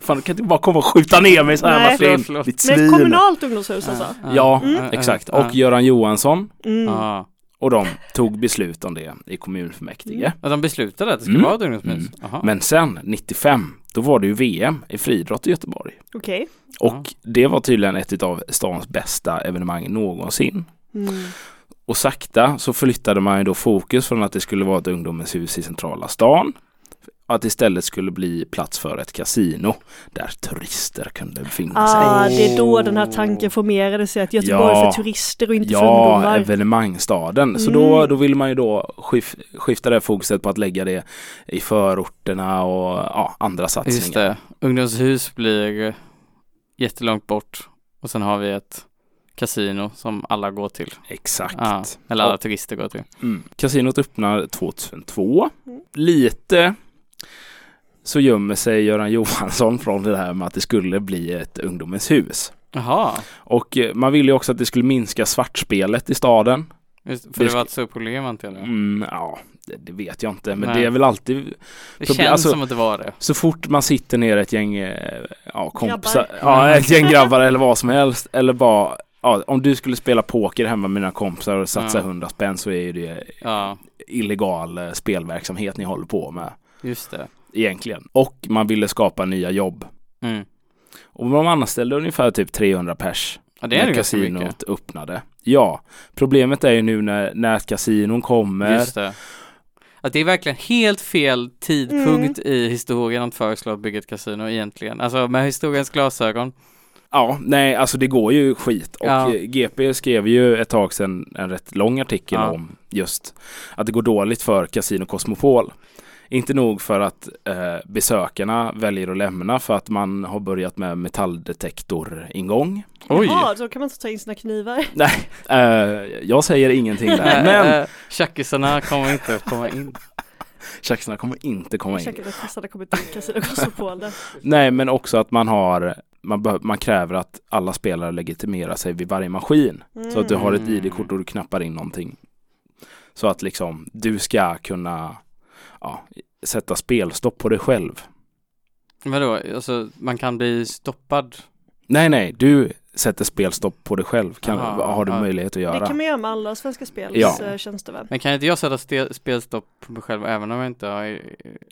[SPEAKER 3] Fan, du kan inte bara komma och skjuta ner mig så här
[SPEAKER 2] Nej.
[SPEAKER 3] Martin.
[SPEAKER 2] Förlåt, förlåt.
[SPEAKER 3] Ditt
[SPEAKER 2] Men
[SPEAKER 3] svin.
[SPEAKER 2] kommunalt ungdomshus
[SPEAKER 1] Ah,
[SPEAKER 2] alltså?
[SPEAKER 3] Ja,
[SPEAKER 2] Mm.
[SPEAKER 3] exakt.
[SPEAKER 1] Ja.
[SPEAKER 3] Och Göran Johansson.
[SPEAKER 2] Mm.
[SPEAKER 1] Ja.
[SPEAKER 3] Och de tog beslut om det i kommunfullmäktige.
[SPEAKER 1] Mm. Ja, de beslutade att det skulle
[SPEAKER 3] Mm.
[SPEAKER 1] vara ett ungdomshus? Jaha.
[SPEAKER 3] Men sen 95, då var det ju VM i friidrott i Göteborg.
[SPEAKER 2] Okej.
[SPEAKER 3] Och det var tydligen ett av stans bästa evenemang någonsin. Och sakta så flyttade man ju då fokus från att det skulle vara ett ungdomens hus i centrala stan att det istället skulle bli plats för ett kasino där turister kunde befinna sig.
[SPEAKER 2] Ah, det är då den här tanken formerades i att Göteborg
[SPEAKER 3] Ja.
[SPEAKER 2] för turister och inte för
[SPEAKER 3] Ja,
[SPEAKER 2] ungdomar. Mm.
[SPEAKER 3] evenemangstaden. Så då, då vill man ju då skif skifta det fokuset på att lägga det i förorterna och ja, andra satsningar.
[SPEAKER 1] Just det. Ungdomshus blir jättelångt bort och sen har vi ett kasino som alla går till.
[SPEAKER 3] Exakt.
[SPEAKER 1] Ja, eller alla
[SPEAKER 3] Och-
[SPEAKER 1] turister går till.
[SPEAKER 3] Mm. Kasinot öppnar 2002. Lite så gömmer sig Göran Johansson från det här med att det skulle bli ett ungdomens hus.
[SPEAKER 1] Jaha.
[SPEAKER 3] Och eh, man ville ju också att det skulle minska svartspelet i staden.
[SPEAKER 1] Just, för det, var ett stort problem antar jag.
[SPEAKER 3] Mm, ja, det, det vet jag inte, men
[SPEAKER 1] Nej.
[SPEAKER 3] det är väl alltid...
[SPEAKER 1] Det
[SPEAKER 3] problem- alltså-
[SPEAKER 1] känns som att det var det.
[SPEAKER 3] Så fort man sitter ner ett gäng eh, ja, kompisar,
[SPEAKER 1] Grabbar.
[SPEAKER 3] ja, ett gäng grabbar eller vad som helst, eller bara ja, om du skulle spela poker hemma med mina kompisar och satsa
[SPEAKER 1] Ja.
[SPEAKER 3] 100 spänn så är ju det
[SPEAKER 1] Ja.
[SPEAKER 3] illegal eh, spelverksamhet ni håller på med
[SPEAKER 1] Just det.
[SPEAKER 3] egentligen. Och man ville skapa nya jobb.
[SPEAKER 1] Mm.
[SPEAKER 3] Och man anställde ungefär typ 300 pers
[SPEAKER 1] Ja, det är
[SPEAKER 3] när
[SPEAKER 1] ju ganska
[SPEAKER 3] kasinot
[SPEAKER 1] mycket.
[SPEAKER 3] öppnade. Ja, problemet är ju nu när nätkasinon kommer.
[SPEAKER 1] Just det. Att det är verkligen helt fel tidpunkt
[SPEAKER 2] Mm.
[SPEAKER 1] i historien att föreslå att bygga ett kasino egentligen. Alltså med historiens glasögon.
[SPEAKER 3] Ja, nej, alltså det går ju skit. Och
[SPEAKER 1] Ja.
[SPEAKER 3] eh, GP skrev ju ett tag sedan en rätt lång artikel
[SPEAKER 1] Ja.
[SPEAKER 3] om just att det går dåligt för Casino Cosmopol. Inte nog för att eh, besökarna väljer att lämna för att man har börjat med metalldetektoringång.
[SPEAKER 2] Jaha, då kan man inte ta in sina knivar.
[SPEAKER 3] Nej, eh, jag säger ingenting där. Men
[SPEAKER 1] Eh, Tjackisarna kommer inte att komma in.
[SPEAKER 3] tjacksarna kommer inte komma in.
[SPEAKER 2] Ursäkta, tassarna kommer till Casino Cosmopolen.
[SPEAKER 3] Nej, men också att man har man, behö- man kräver att alla spelare legitimerar sig vid varje maskin. Så att du har
[SPEAKER 2] Mm.
[SPEAKER 3] ett ID-kort och du knappar in någonting. Så att liksom du ska kunna ja, sätta spelstopp på dig själv.
[SPEAKER 1] Vadå, alltså man kan bli stoppad?
[SPEAKER 3] Nej, nej, du sätter spelstopp på dig själv. Kan,
[SPEAKER 1] Aha,
[SPEAKER 3] har du
[SPEAKER 1] ja.
[SPEAKER 3] möjlighet att göra.
[SPEAKER 2] Mm. Det kan man göra med alla Svenska Spels
[SPEAKER 3] Ja.
[SPEAKER 2] eh, tjänster va?
[SPEAKER 1] Men kan inte jag sätta ste- spelstopp på mig själv även om jag inte har...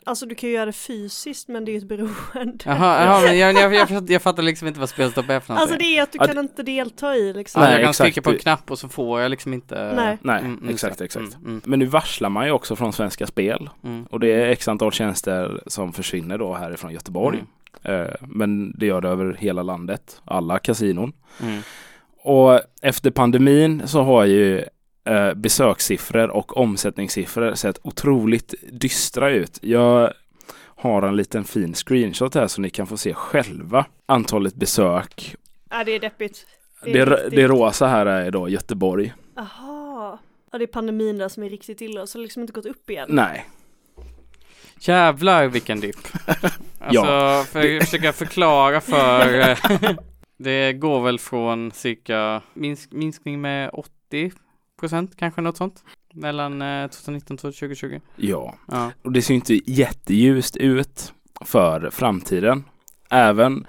[SPEAKER 2] Alltså du kan ju göra det fysiskt men det är ju ett beroende.
[SPEAKER 1] Jaha, jaha men jag, jag, jag, jag fattar liksom inte vad spelstopp är för någonting.
[SPEAKER 2] Alltså det är att du
[SPEAKER 1] Ja,
[SPEAKER 2] kan inte delta i liksom.
[SPEAKER 1] Nej, jag kan
[SPEAKER 3] exakt.
[SPEAKER 1] klicka på en knapp och så får jag liksom inte...
[SPEAKER 2] Nej.
[SPEAKER 3] Nej,
[SPEAKER 1] Mm, mm,
[SPEAKER 3] exakt,
[SPEAKER 1] så.
[SPEAKER 3] exakt.
[SPEAKER 1] Mm, mm.
[SPEAKER 3] Men nu varslar man ju också från Svenska Spel
[SPEAKER 1] Mm.
[SPEAKER 3] och det är x antal tjänster som försvinner då härifrån Göteborg.
[SPEAKER 2] Mm.
[SPEAKER 3] Eh, Men det gör det över hela landet, alla kasinon.
[SPEAKER 1] Mm.
[SPEAKER 3] Och efter pandemin så har ju eh, besökssiffror och omsättningssiffror sett otroligt dystra ut. Jag har en liten fin screenshot här så ni kan få se själva antalet besök
[SPEAKER 2] Ja, det är deppigt.
[SPEAKER 3] Det, r-
[SPEAKER 2] riktigt-
[SPEAKER 3] det rosa här är idag Göteborg.
[SPEAKER 2] Aha. Ja, det är pandemin där som är riktigt illa, så det har liksom inte gått upp igen.
[SPEAKER 3] Nej.
[SPEAKER 1] Jävlar vilken dipp. Alltså,
[SPEAKER 3] Ja.
[SPEAKER 1] för att försöka förklara för... eh, det går väl från cirka minsk, minskning med 80 procent, kanske något sånt. Mellan eh, 2019 och 2020.
[SPEAKER 3] Ja.
[SPEAKER 1] Ja.
[SPEAKER 3] Och det ser ju inte jätteljust ut för framtiden. Även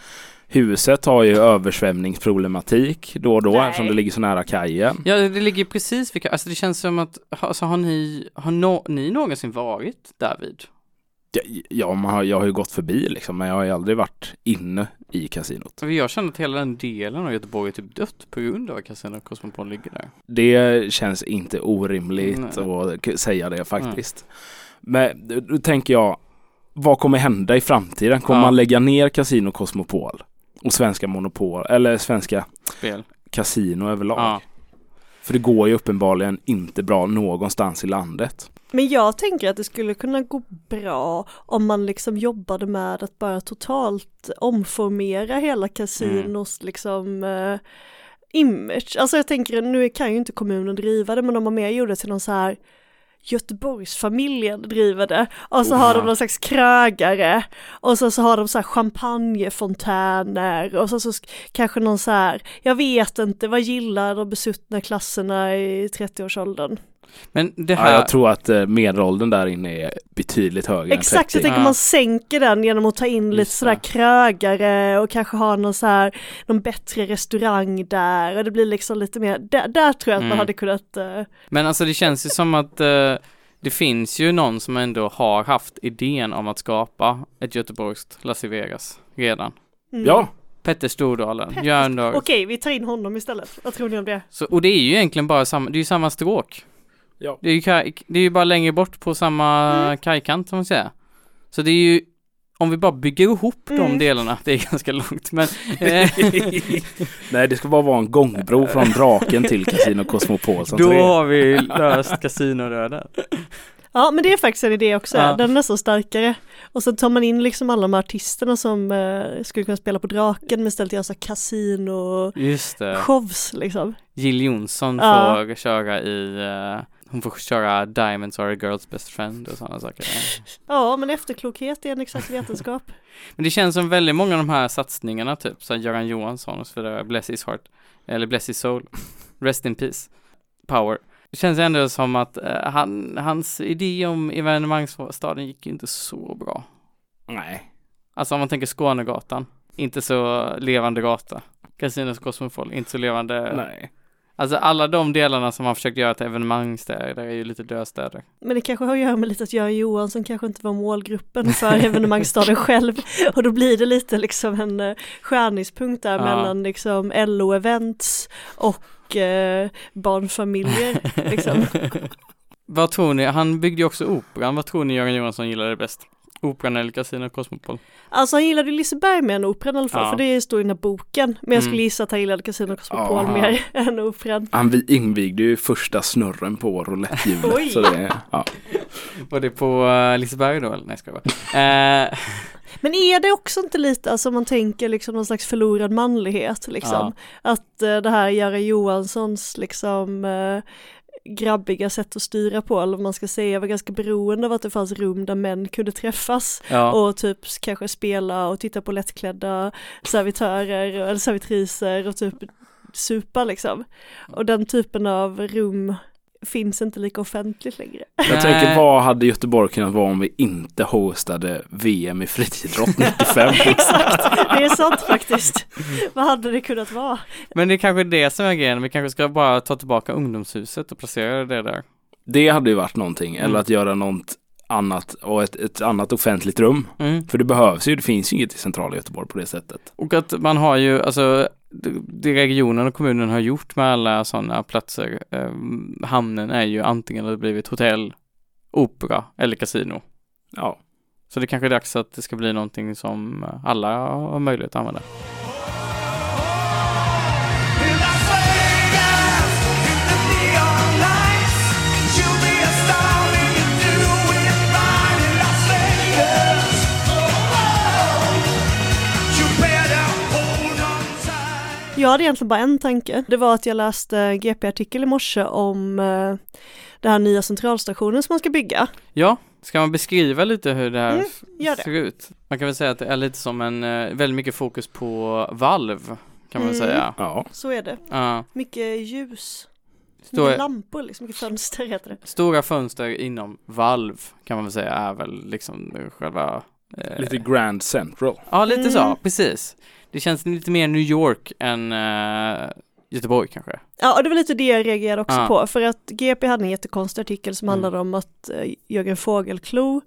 [SPEAKER 3] huset har ju översvämningsproblematik då och då eftersom det ligger så nära kajen.
[SPEAKER 1] Ja, det ligger precis vid... Alltså det känns som att... Alltså har ni... Har no, ni någonsin varit där vid? Alltså,
[SPEAKER 3] Ja, Ja, man har, jag har ju gått förbi liksom men jag har ju aldrig varit inne i kasinot.
[SPEAKER 1] För Jag känner att hela den delen av Göteborg är typ dött på grund av att Casino Cosmopol ligger där.
[SPEAKER 3] Det känns inte orimligt
[SPEAKER 1] Nej.
[SPEAKER 3] att k- säga det faktiskt. Men då- då tänker jag, vad kommer hända i framtiden? Kommer
[SPEAKER 1] Ja.
[SPEAKER 3] man lägga ner Casino Cosmopol och svenska monopol eller svenska
[SPEAKER 1] Spel.
[SPEAKER 3] kasino överlag?
[SPEAKER 1] Ja.
[SPEAKER 3] För det går ju uppenbarligen inte bra någonstans i landet.
[SPEAKER 2] Men jag tänker att det skulle kunna gå bra om man liksom jobbade med att bara totalt omformera hela kasinos liksom eh, image. Alltså jag tänker, nu kan ju inte kommunen driva det, men om man mer gjorde det till någon så här Göteborgsfamiljen driver det och så har de
[SPEAKER 12] Oh.
[SPEAKER 2] någon slags krögare och så, så har de så här champagnefontäner och så, så sk- kanske någon så här, jag vet inte, vad gillar de besuttna klasserna i 30-årsåldern?
[SPEAKER 1] Men det
[SPEAKER 3] ja,
[SPEAKER 1] här-
[SPEAKER 3] jag tror att eh, medelåldern där inne är betydligt högre än
[SPEAKER 2] Exakt,
[SPEAKER 3] 30.
[SPEAKER 2] jag tänker man sänker den genom att ta in lite sådär krögare och kanske ha någon så här, någon bättre restaurang där och det blir liksom lite mer, där, där tror jag att man
[SPEAKER 1] Mm.
[SPEAKER 2] hade kunnat, eh,
[SPEAKER 1] Men alltså det känns ju som att eh, det finns ju någon som ändå har haft idén om att skapa ett göteborgskt Las Vegas redan.
[SPEAKER 2] Mm. Ja.
[SPEAKER 1] Petter Stordalen, Jörn
[SPEAKER 2] okej
[SPEAKER 1] Dahl.
[SPEAKER 2] vi tar in honom istället, vad tror ni om det?
[SPEAKER 1] Så, och det är ju egentligen bara samma, det är ju samma stråk.
[SPEAKER 3] Ja.
[SPEAKER 1] Det är ju, kaj, det är ju bara längre bort på samma kajkant som man säger. Så det är ju, om vi bara bygger ihop
[SPEAKER 3] Mm.
[SPEAKER 1] de delarna, det är ganska långt men eh,
[SPEAKER 3] Nej, det ska bara vara en gångbro från Draken till Casino Cosmopol. som
[SPEAKER 1] Då
[SPEAKER 3] tre.
[SPEAKER 1] har vi löst kasinodöden.
[SPEAKER 2] Ja men det är faktiskt en idé också,
[SPEAKER 1] Ja.
[SPEAKER 2] den är nästan starkare. Och så tar man in liksom alla de här artisterna som eh, skulle kunna spela på Draken men istället göra så här kasino
[SPEAKER 1] Just det.
[SPEAKER 2] shows liksom.
[SPEAKER 1] Jill Johnson
[SPEAKER 2] Ja.
[SPEAKER 1] får köra i, eh, hon får köra Diamonds are a girl's best friend och sådana saker.
[SPEAKER 2] Ja men efterklokhet är en exakt vetenskap.
[SPEAKER 1] Men det känns som väldigt många av de här satsningarna typ, så här Göran Johansson och så vidare, Bless his heart, eller Bless his soul, Rest in peace, Power. Det känns ändå som att eh, han, hans idé om evenemangsstaden gick ju inte så bra.
[SPEAKER 3] Nej.
[SPEAKER 1] Alltså om man tänker Skånegatan, inte så levande gata. Casinos Cosmopol, inte så levande.
[SPEAKER 3] Nej.
[SPEAKER 1] Alltså alla de delarna som man försökt göra till evenemangsstäder är ju lite döstäder.
[SPEAKER 2] Men det kanske har att göra med lite att Göran Johansson kanske inte var målgruppen för evenemangsstaden själv. Och då blir det lite liksom en eh, skärningspunkt där
[SPEAKER 1] Ja.
[SPEAKER 2] mellan liksom LO-events och eh, barnfamiljer. Liksom.
[SPEAKER 1] Vad tror ni, han byggde ju också operan, vad tror ni Jörgen Johansson gillade bäst? Operan eller Casino Cosmopol?
[SPEAKER 2] Alltså han gillade ju Liseberg mer än operan i alla fall,
[SPEAKER 1] Ja.
[SPEAKER 2] för det står i den här boken. Men jag skulle
[SPEAKER 3] Mm.
[SPEAKER 2] gissa att han gillade Casino Cosmopol
[SPEAKER 3] Ja.
[SPEAKER 2] mer än operan.
[SPEAKER 3] Han vi- invigde ju första snurren på
[SPEAKER 2] Oj.
[SPEAKER 3] roulettehjulet. så det, ja.
[SPEAKER 1] Var det på eh, Liseberg då eller? Nej ska jag bara. Eh,
[SPEAKER 2] Men är det också inte lite, alltså om man tänker liksom någon slags förlorad manlighet liksom? Att eh, det här Göran Johanssons liksom eh, grabbiga sätt att styra på, eller vad man ska säga, var ganska beroende av att det fanns rum där män kunde träffas
[SPEAKER 1] Ja.
[SPEAKER 2] och typ s- kanske spela och titta på lättklädda servitörer eller servitriser och typ supa liksom. Och den typen av rum finns inte lika offentligt längre.
[SPEAKER 3] Jag
[SPEAKER 1] Eh.
[SPEAKER 3] tänker vad hade Göteborg kunnat vara om vi inte hostade VM i friidrott 95?
[SPEAKER 2] Det är sant faktiskt. Vad hade det kunnat vara?
[SPEAKER 1] men det är kanske det som är grejen, vi kanske ska bara ta tillbaka ungdomshuset och placera det där.
[SPEAKER 3] Det hade ju varit någonting, eller
[SPEAKER 1] Mm.
[SPEAKER 3] att göra något annat och ett, ett annat offentligt rum. För det behövs ju, det finns ju inget i centrala Göteborg på det sättet.
[SPEAKER 1] Och att man har ju, alltså det- det regionen och kommunen har gjort med alla sådana platser, eh, hamnen är ju antingen har det blivit hotell, opera eller kasino.
[SPEAKER 3] Ja.
[SPEAKER 1] Så det kanske är dags att det ska bli någonting som alla har möjlighet att använda.
[SPEAKER 2] Jag hade egentligen bara en tanke. Det var att jag läste en GP-artikel i morse om eh, den här nya centralstationen som man ska bygga.
[SPEAKER 1] Ja, ska man beskriva lite hur det här
[SPEAKER 2] Mm,
[SPEAKER 1] f-
[SPEAKER 2] gör det.
[SPEAKER 1] ser ut? Man kan väl säga att det är lite som en, eh, väldigt mycket fokus på valv kan man väl
[SPEAKER 2] Mm.
[SPEAKER 1] säga.
[SPEAKER 3] Ja.
[SPEAKER 2] Så är det.
[SPEAKER 1] Ja.
[SPEAKER 2] Mycket ljus.
[SPEAKER 1] Står-
[SPEAKER 2] Mycket lampor, liksom, mycket fönster heter det.
[SPEAKER 1] Stora fönster inom valv kan man väl säga är väl liksom själva eh,
[SPEAKER 3] Lite Grand Central.
[SPEAKER 1] Ja, lite så,
[SPEAKER 2] Mm.
[SPEAKER 1] precis. Det känns lite mer New York än eh, Göteborg kanske.
[SPEAKER 2] Ja, och det var lite det jag reagerade också
[SPEAKER 1] Ja. Mm.
[SPEAKER 2] på, för att GP hade en jättekonstig artikel som handlade om att eh, Jörgen Fogelklou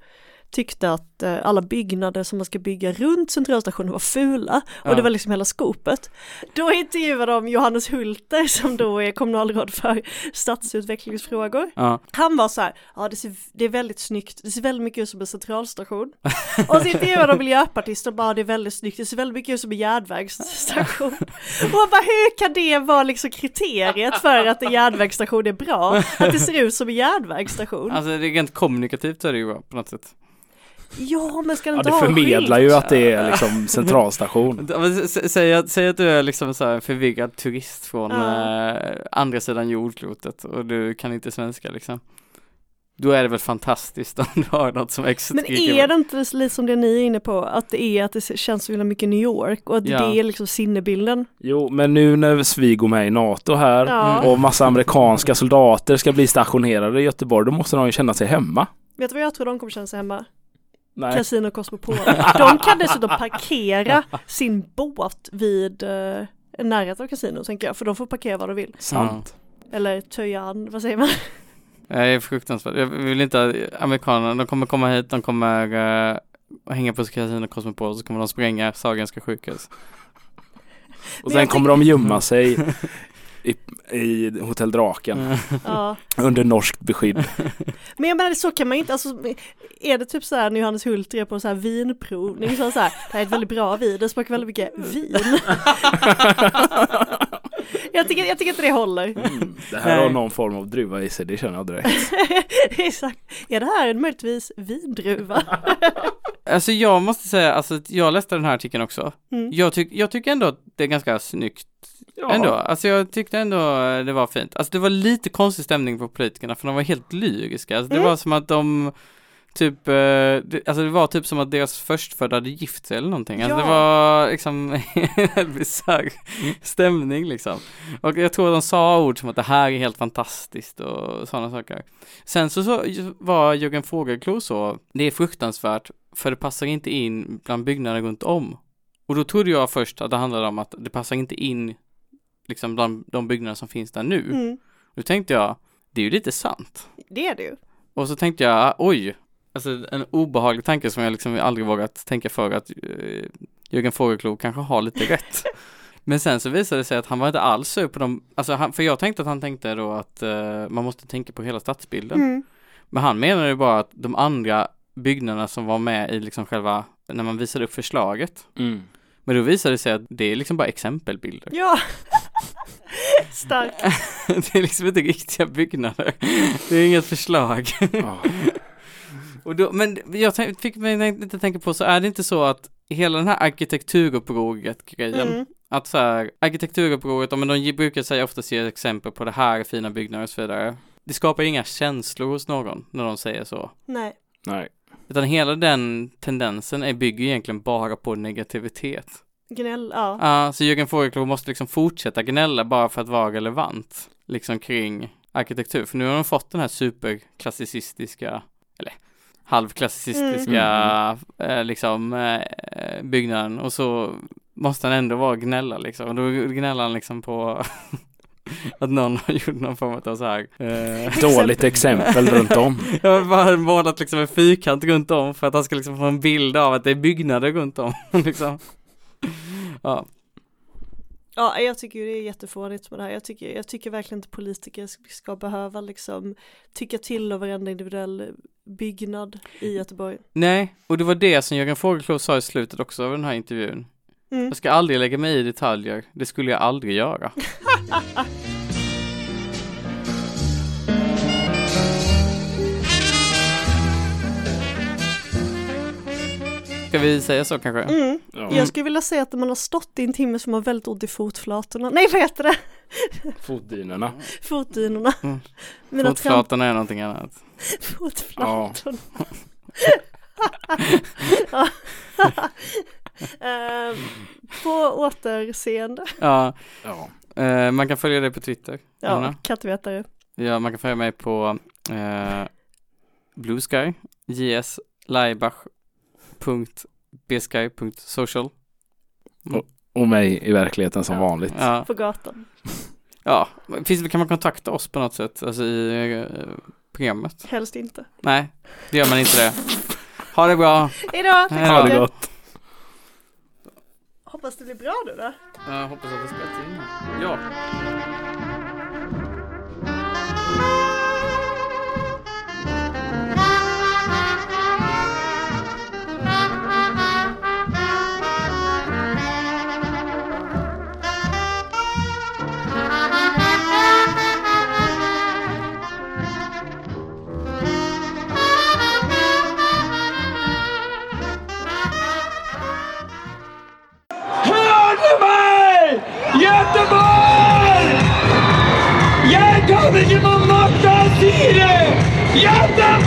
[SPEAKER 2] tyckte att eh, alla byggnader som man ska bygga runt centralstationen var fula och
[SPEAKER 1] Ja.
[SPEAKER 2] det var liksom hela skopet. Då intervjuade de Johannes Hulter som då är kommunalråd för stadsutvecklingsfrågor.
[SPEAKER 1] Ja.
[SPEAKER 2] Han var så här, ja det, ser, det är väldigt snyggt, det ser väldigt mycket ut som en centralstation. Och så intervjuade de miljöpartister och bara det är väldigt snyggt, det ser väldigt mycket ut som en järnvägsstation. Och man bara hur kan det vara liksom kriteriet för att en järnvägsstation är bra? Att det ser ut som en järnvägsstation?
[SPEAKER 1] Alltså det är rent kommunikativt så är det ju bra på något sätt.
[SPEAKER 2] Ja men ska den
[SPEAKER 3] Ja,
[SPEAKER 2] inte
[SPEAKER 3] det
[SPEAKER 2] ha en
[SPEAKER 3] förmedlar
[SPEAKER 2] skylt?
[SPEAKER 3] ju att det är liksom centralstation.
[SPEAKER 1] Ja, men s- s- Säg att, säg att du är liksom så här en förvirrad turist från
[SPEAKER 2] Ja.
[SPEAKER 1] eh, andra sidan jordklotet och du kan inte svenska liksom. Då är det väl fantastiskt om du har något som extra
[SPEAKER 2] Men är det inte lite som det ni är inne på, att det är att det känns så himla mycket New York och att
[SPEAKER 3] Ja.
[SPEAKER 2] det är liksom sinnebilden?
[SPEAKER 3] Jo, men nu när vi går med i NATO här
[SPEAKER 1] Mm.
[SPEAKER 2] Ja.
[SPEAKER 3] och massa amerikanska soldater ska bli stationerade i Göteborg, då måste de ju känna sig hemma.
[SPEAKER 2] Vet du vad jag tror de kommer känna sig hemma?
[SPEAKER 3] Nej.
[SPEAKER 2] Casino Cosmopol. De kan dessutom parkera sin båt vid eh, närheten av kasino tänker jag, för de får parkera vad de vill.
[SPEAKER 3] Sant.
[SPEAKER 2] Eller töja an, vad säger man?
[SPEAKER 1] Ja, Det är fruktansvärt. Jag vill inte att amerikanerna, de kommer komma hit, de kommer eh, hänga på Casino Cosmopol och så kommer de spränga Sahlgrenska sjukhus.
[SPEAKER 3] Och sen kommer de gömma sig i, i Hotell
[SPEAKER 1] Mm.
[SPEAKER 3] Draken
[SPEAKER 2] Ja.
[SPEAKER 3] under norskt beskydd.
[SPEAKER 2] Men jag menar så kan man ju inte, alltså är det typ så här när Johannes Hult är på så här vinprovning så är det så här, det här är ett väldigt bra vin, det smakar väldigt mycket vin. jag, tycker, jag tycker inte det håller.
[SPEAKER 3] Det här har
[SPEAKER 1] Nej.
[SPEAKER 3] någon form av druva i sig, det känner jag direkt.
[SPEAKER 2] Exakt. Är det här en möjligtvis vindruva?
[SPEAKER 1] Alltså jag måste säga, alltså att jag läste den här artikeln också.
[SPEAKER 2] Mm.
[SPEAKER 1] Jag, tyck, jag tycker ändå att det är ganska snyggt ändå. Alltså jag tyckte ändå det var fint. Alltså det var lite konstig stämning på politikerna för de var helt lyriska. Alltså det
[SPEAKER 2] Mm.
[SPEAKER 1] var som att de typ, eh, det, alltså det var typ som att deras förstfödda hade gift sig eller någonting. Alltså det
[SPEAKER 2] Ja.
[SPEAKER 1] var liksom en bisarr stämning liksom. Och jag tror de sa ord som att det här är helt fantastiskt och sådana saker. Sen så, så var Jörgen Fogelklou så, det är fruktansvärt för det passar inte in bland byggnader runt om. Och då trodde jag först att det handlade om att det passar inte in liksom bland de byggnader som finns där nu.
[SPEAKER 2] Mm.
[SPEAKER 1] Då tänkte jag, det är ju lite sant.
[SPEAKER 2] Det är det ju.
[SPEAKER 1] Och så tänkte jag, oj, alltså en obehaglig tanke som jag liksom aldrig vågat tänka för att eh, Jörgen Fogelklou kanske har lite rätt. Men sen så visade det sig att han var inte alls sur på dem, alltså han, för jag tänkte att han tänkte då att eh, man måste tänka på hela stadsbilden.
[SPEAKER 2] Mm.
[SPEAKER 1] Men han menade ju bara att de andra byggnaderna som var med i liksom själva, när man visade upp förslaget.
[SPEAKER 3] Mm.
[SPEAKER 1] Men då visade det sig att det är liksom bara exempelbilder.
[SPEAKER 2] Ja. Starkt.
[SPEAKER 1] det är liksom inte riktiga byggnader. Det är inget förslag.
[SPEAKER 3] Ja.
[SPEAKER 1] Och då, men jag tänk, fick mig inte tänka på, så är det inte så att hela den här arkitekturupproret grejen,
[SPEAKER 2] Mm.
[SPEAKER 1] att så här, arkitekturupproret, ja, men de ge- brukar säga oftast ge exempel på det här är fina byggnader och så vidare. Det skapar inga känslor hos någon när de säger så.
[SPEAKER 2] Nej.
[SPEAKER 3] Nej.
[SPEAKER 1] Utan hela den tendensen är, bygger egentligen bara på negativitet.
[SPEAKER 2] Gnäll, ja.
[SPEAKER 1] Ja, så Jörgen Fogelklou måste liksom fortsätta gnälla bara för att vara relevant, liksom kring arkitektur. För nu har de fått den här superklassicistiska, eller halvklassicistiska, eh, liksom eh, byggnaden och så måste han ändå vara gnälla liksom. Och då gnäller han liksom på att någon har gjort någon form av så här. Eh,
[SPEAKER 3] Dåligt exempel runt om.
[SPEAKER 1] jag har bara målat liksom en fyrkant runt om för att han ska liksom få en bild av att det är byggnader runt om. liksom. Ja,
[SPEAKER 2] Ja, jag tycker ju det är jättefånigt med det här. Jag tycker, jag tycker verkligen inte politiker ska- ska behöva liksom tycka till om varenda individuell byggnad i Göteborg.
[SPEAKER 1] Nej, och det var det som Jörgen Fogelklou sa i slutet också av den här intervjun.
[SPEAKER 2] Mm.
[SPEAKER 1] Jag ska aldrig lägga mig i detaljer, det skulle jag aldrig göra. Ska vi säga så kanske?
[SPEAKER 2] Mm. Jag skulle vilja säga att när man har stått i en timme så har man väldigt ont i fotflatorna. Nej, vad heter det?
[SPEAKER 3] Fotdynorna.
[SPEAKER 2] Fotdynorna.
[SPEAKER 1] Mm.
[SPEAKER 2] Mina tramp-
[SPEAKER 1] Fotflatorna är någonting annat.
[SPEAKER 2] Fotflatorna. Ja. Eh, På återseende.
[SPEAKER 1] Ja.
[SPEAKER 3] ja.
[SPEAKER 1] Eh, man kan följa dig på Twitter.
[SPEAKER 2] Ja,
[SPEAKER 1] Anna.
[SPEAKER 2] kattvetare.
[SPEAKER 1] ja man kan följa mig på eh, Blue Sky, JS Laibach punkt bsky punkt social.
[SPEAKER 3] Och mig i verkligheten som vanligt.
[SPEAKER 1] Ja.
[SPEAKER 2] På gatan.
[SPEAKER 1] ja. Finns, det- kan man kontakta oss på något sätt? Alltså i eh, programmet?
[SPEAKER 2] Helst inte.
[SPEAKER 1] Nej, det gör man inte det. Ha det bra.
[SPEAKER 2] Hejdå, tack så
[SPEAKER 1] Hejdå.
[SPEAKER 2] mycket. Hoppas det blir bra nu då.
[SPEAKER 1] Ja, jag hoppas att det spelas in. Ja.
[SPEAKER 6] Hör du mig? Göteborg! Jag kommer till mamma Tazire! Göteborg!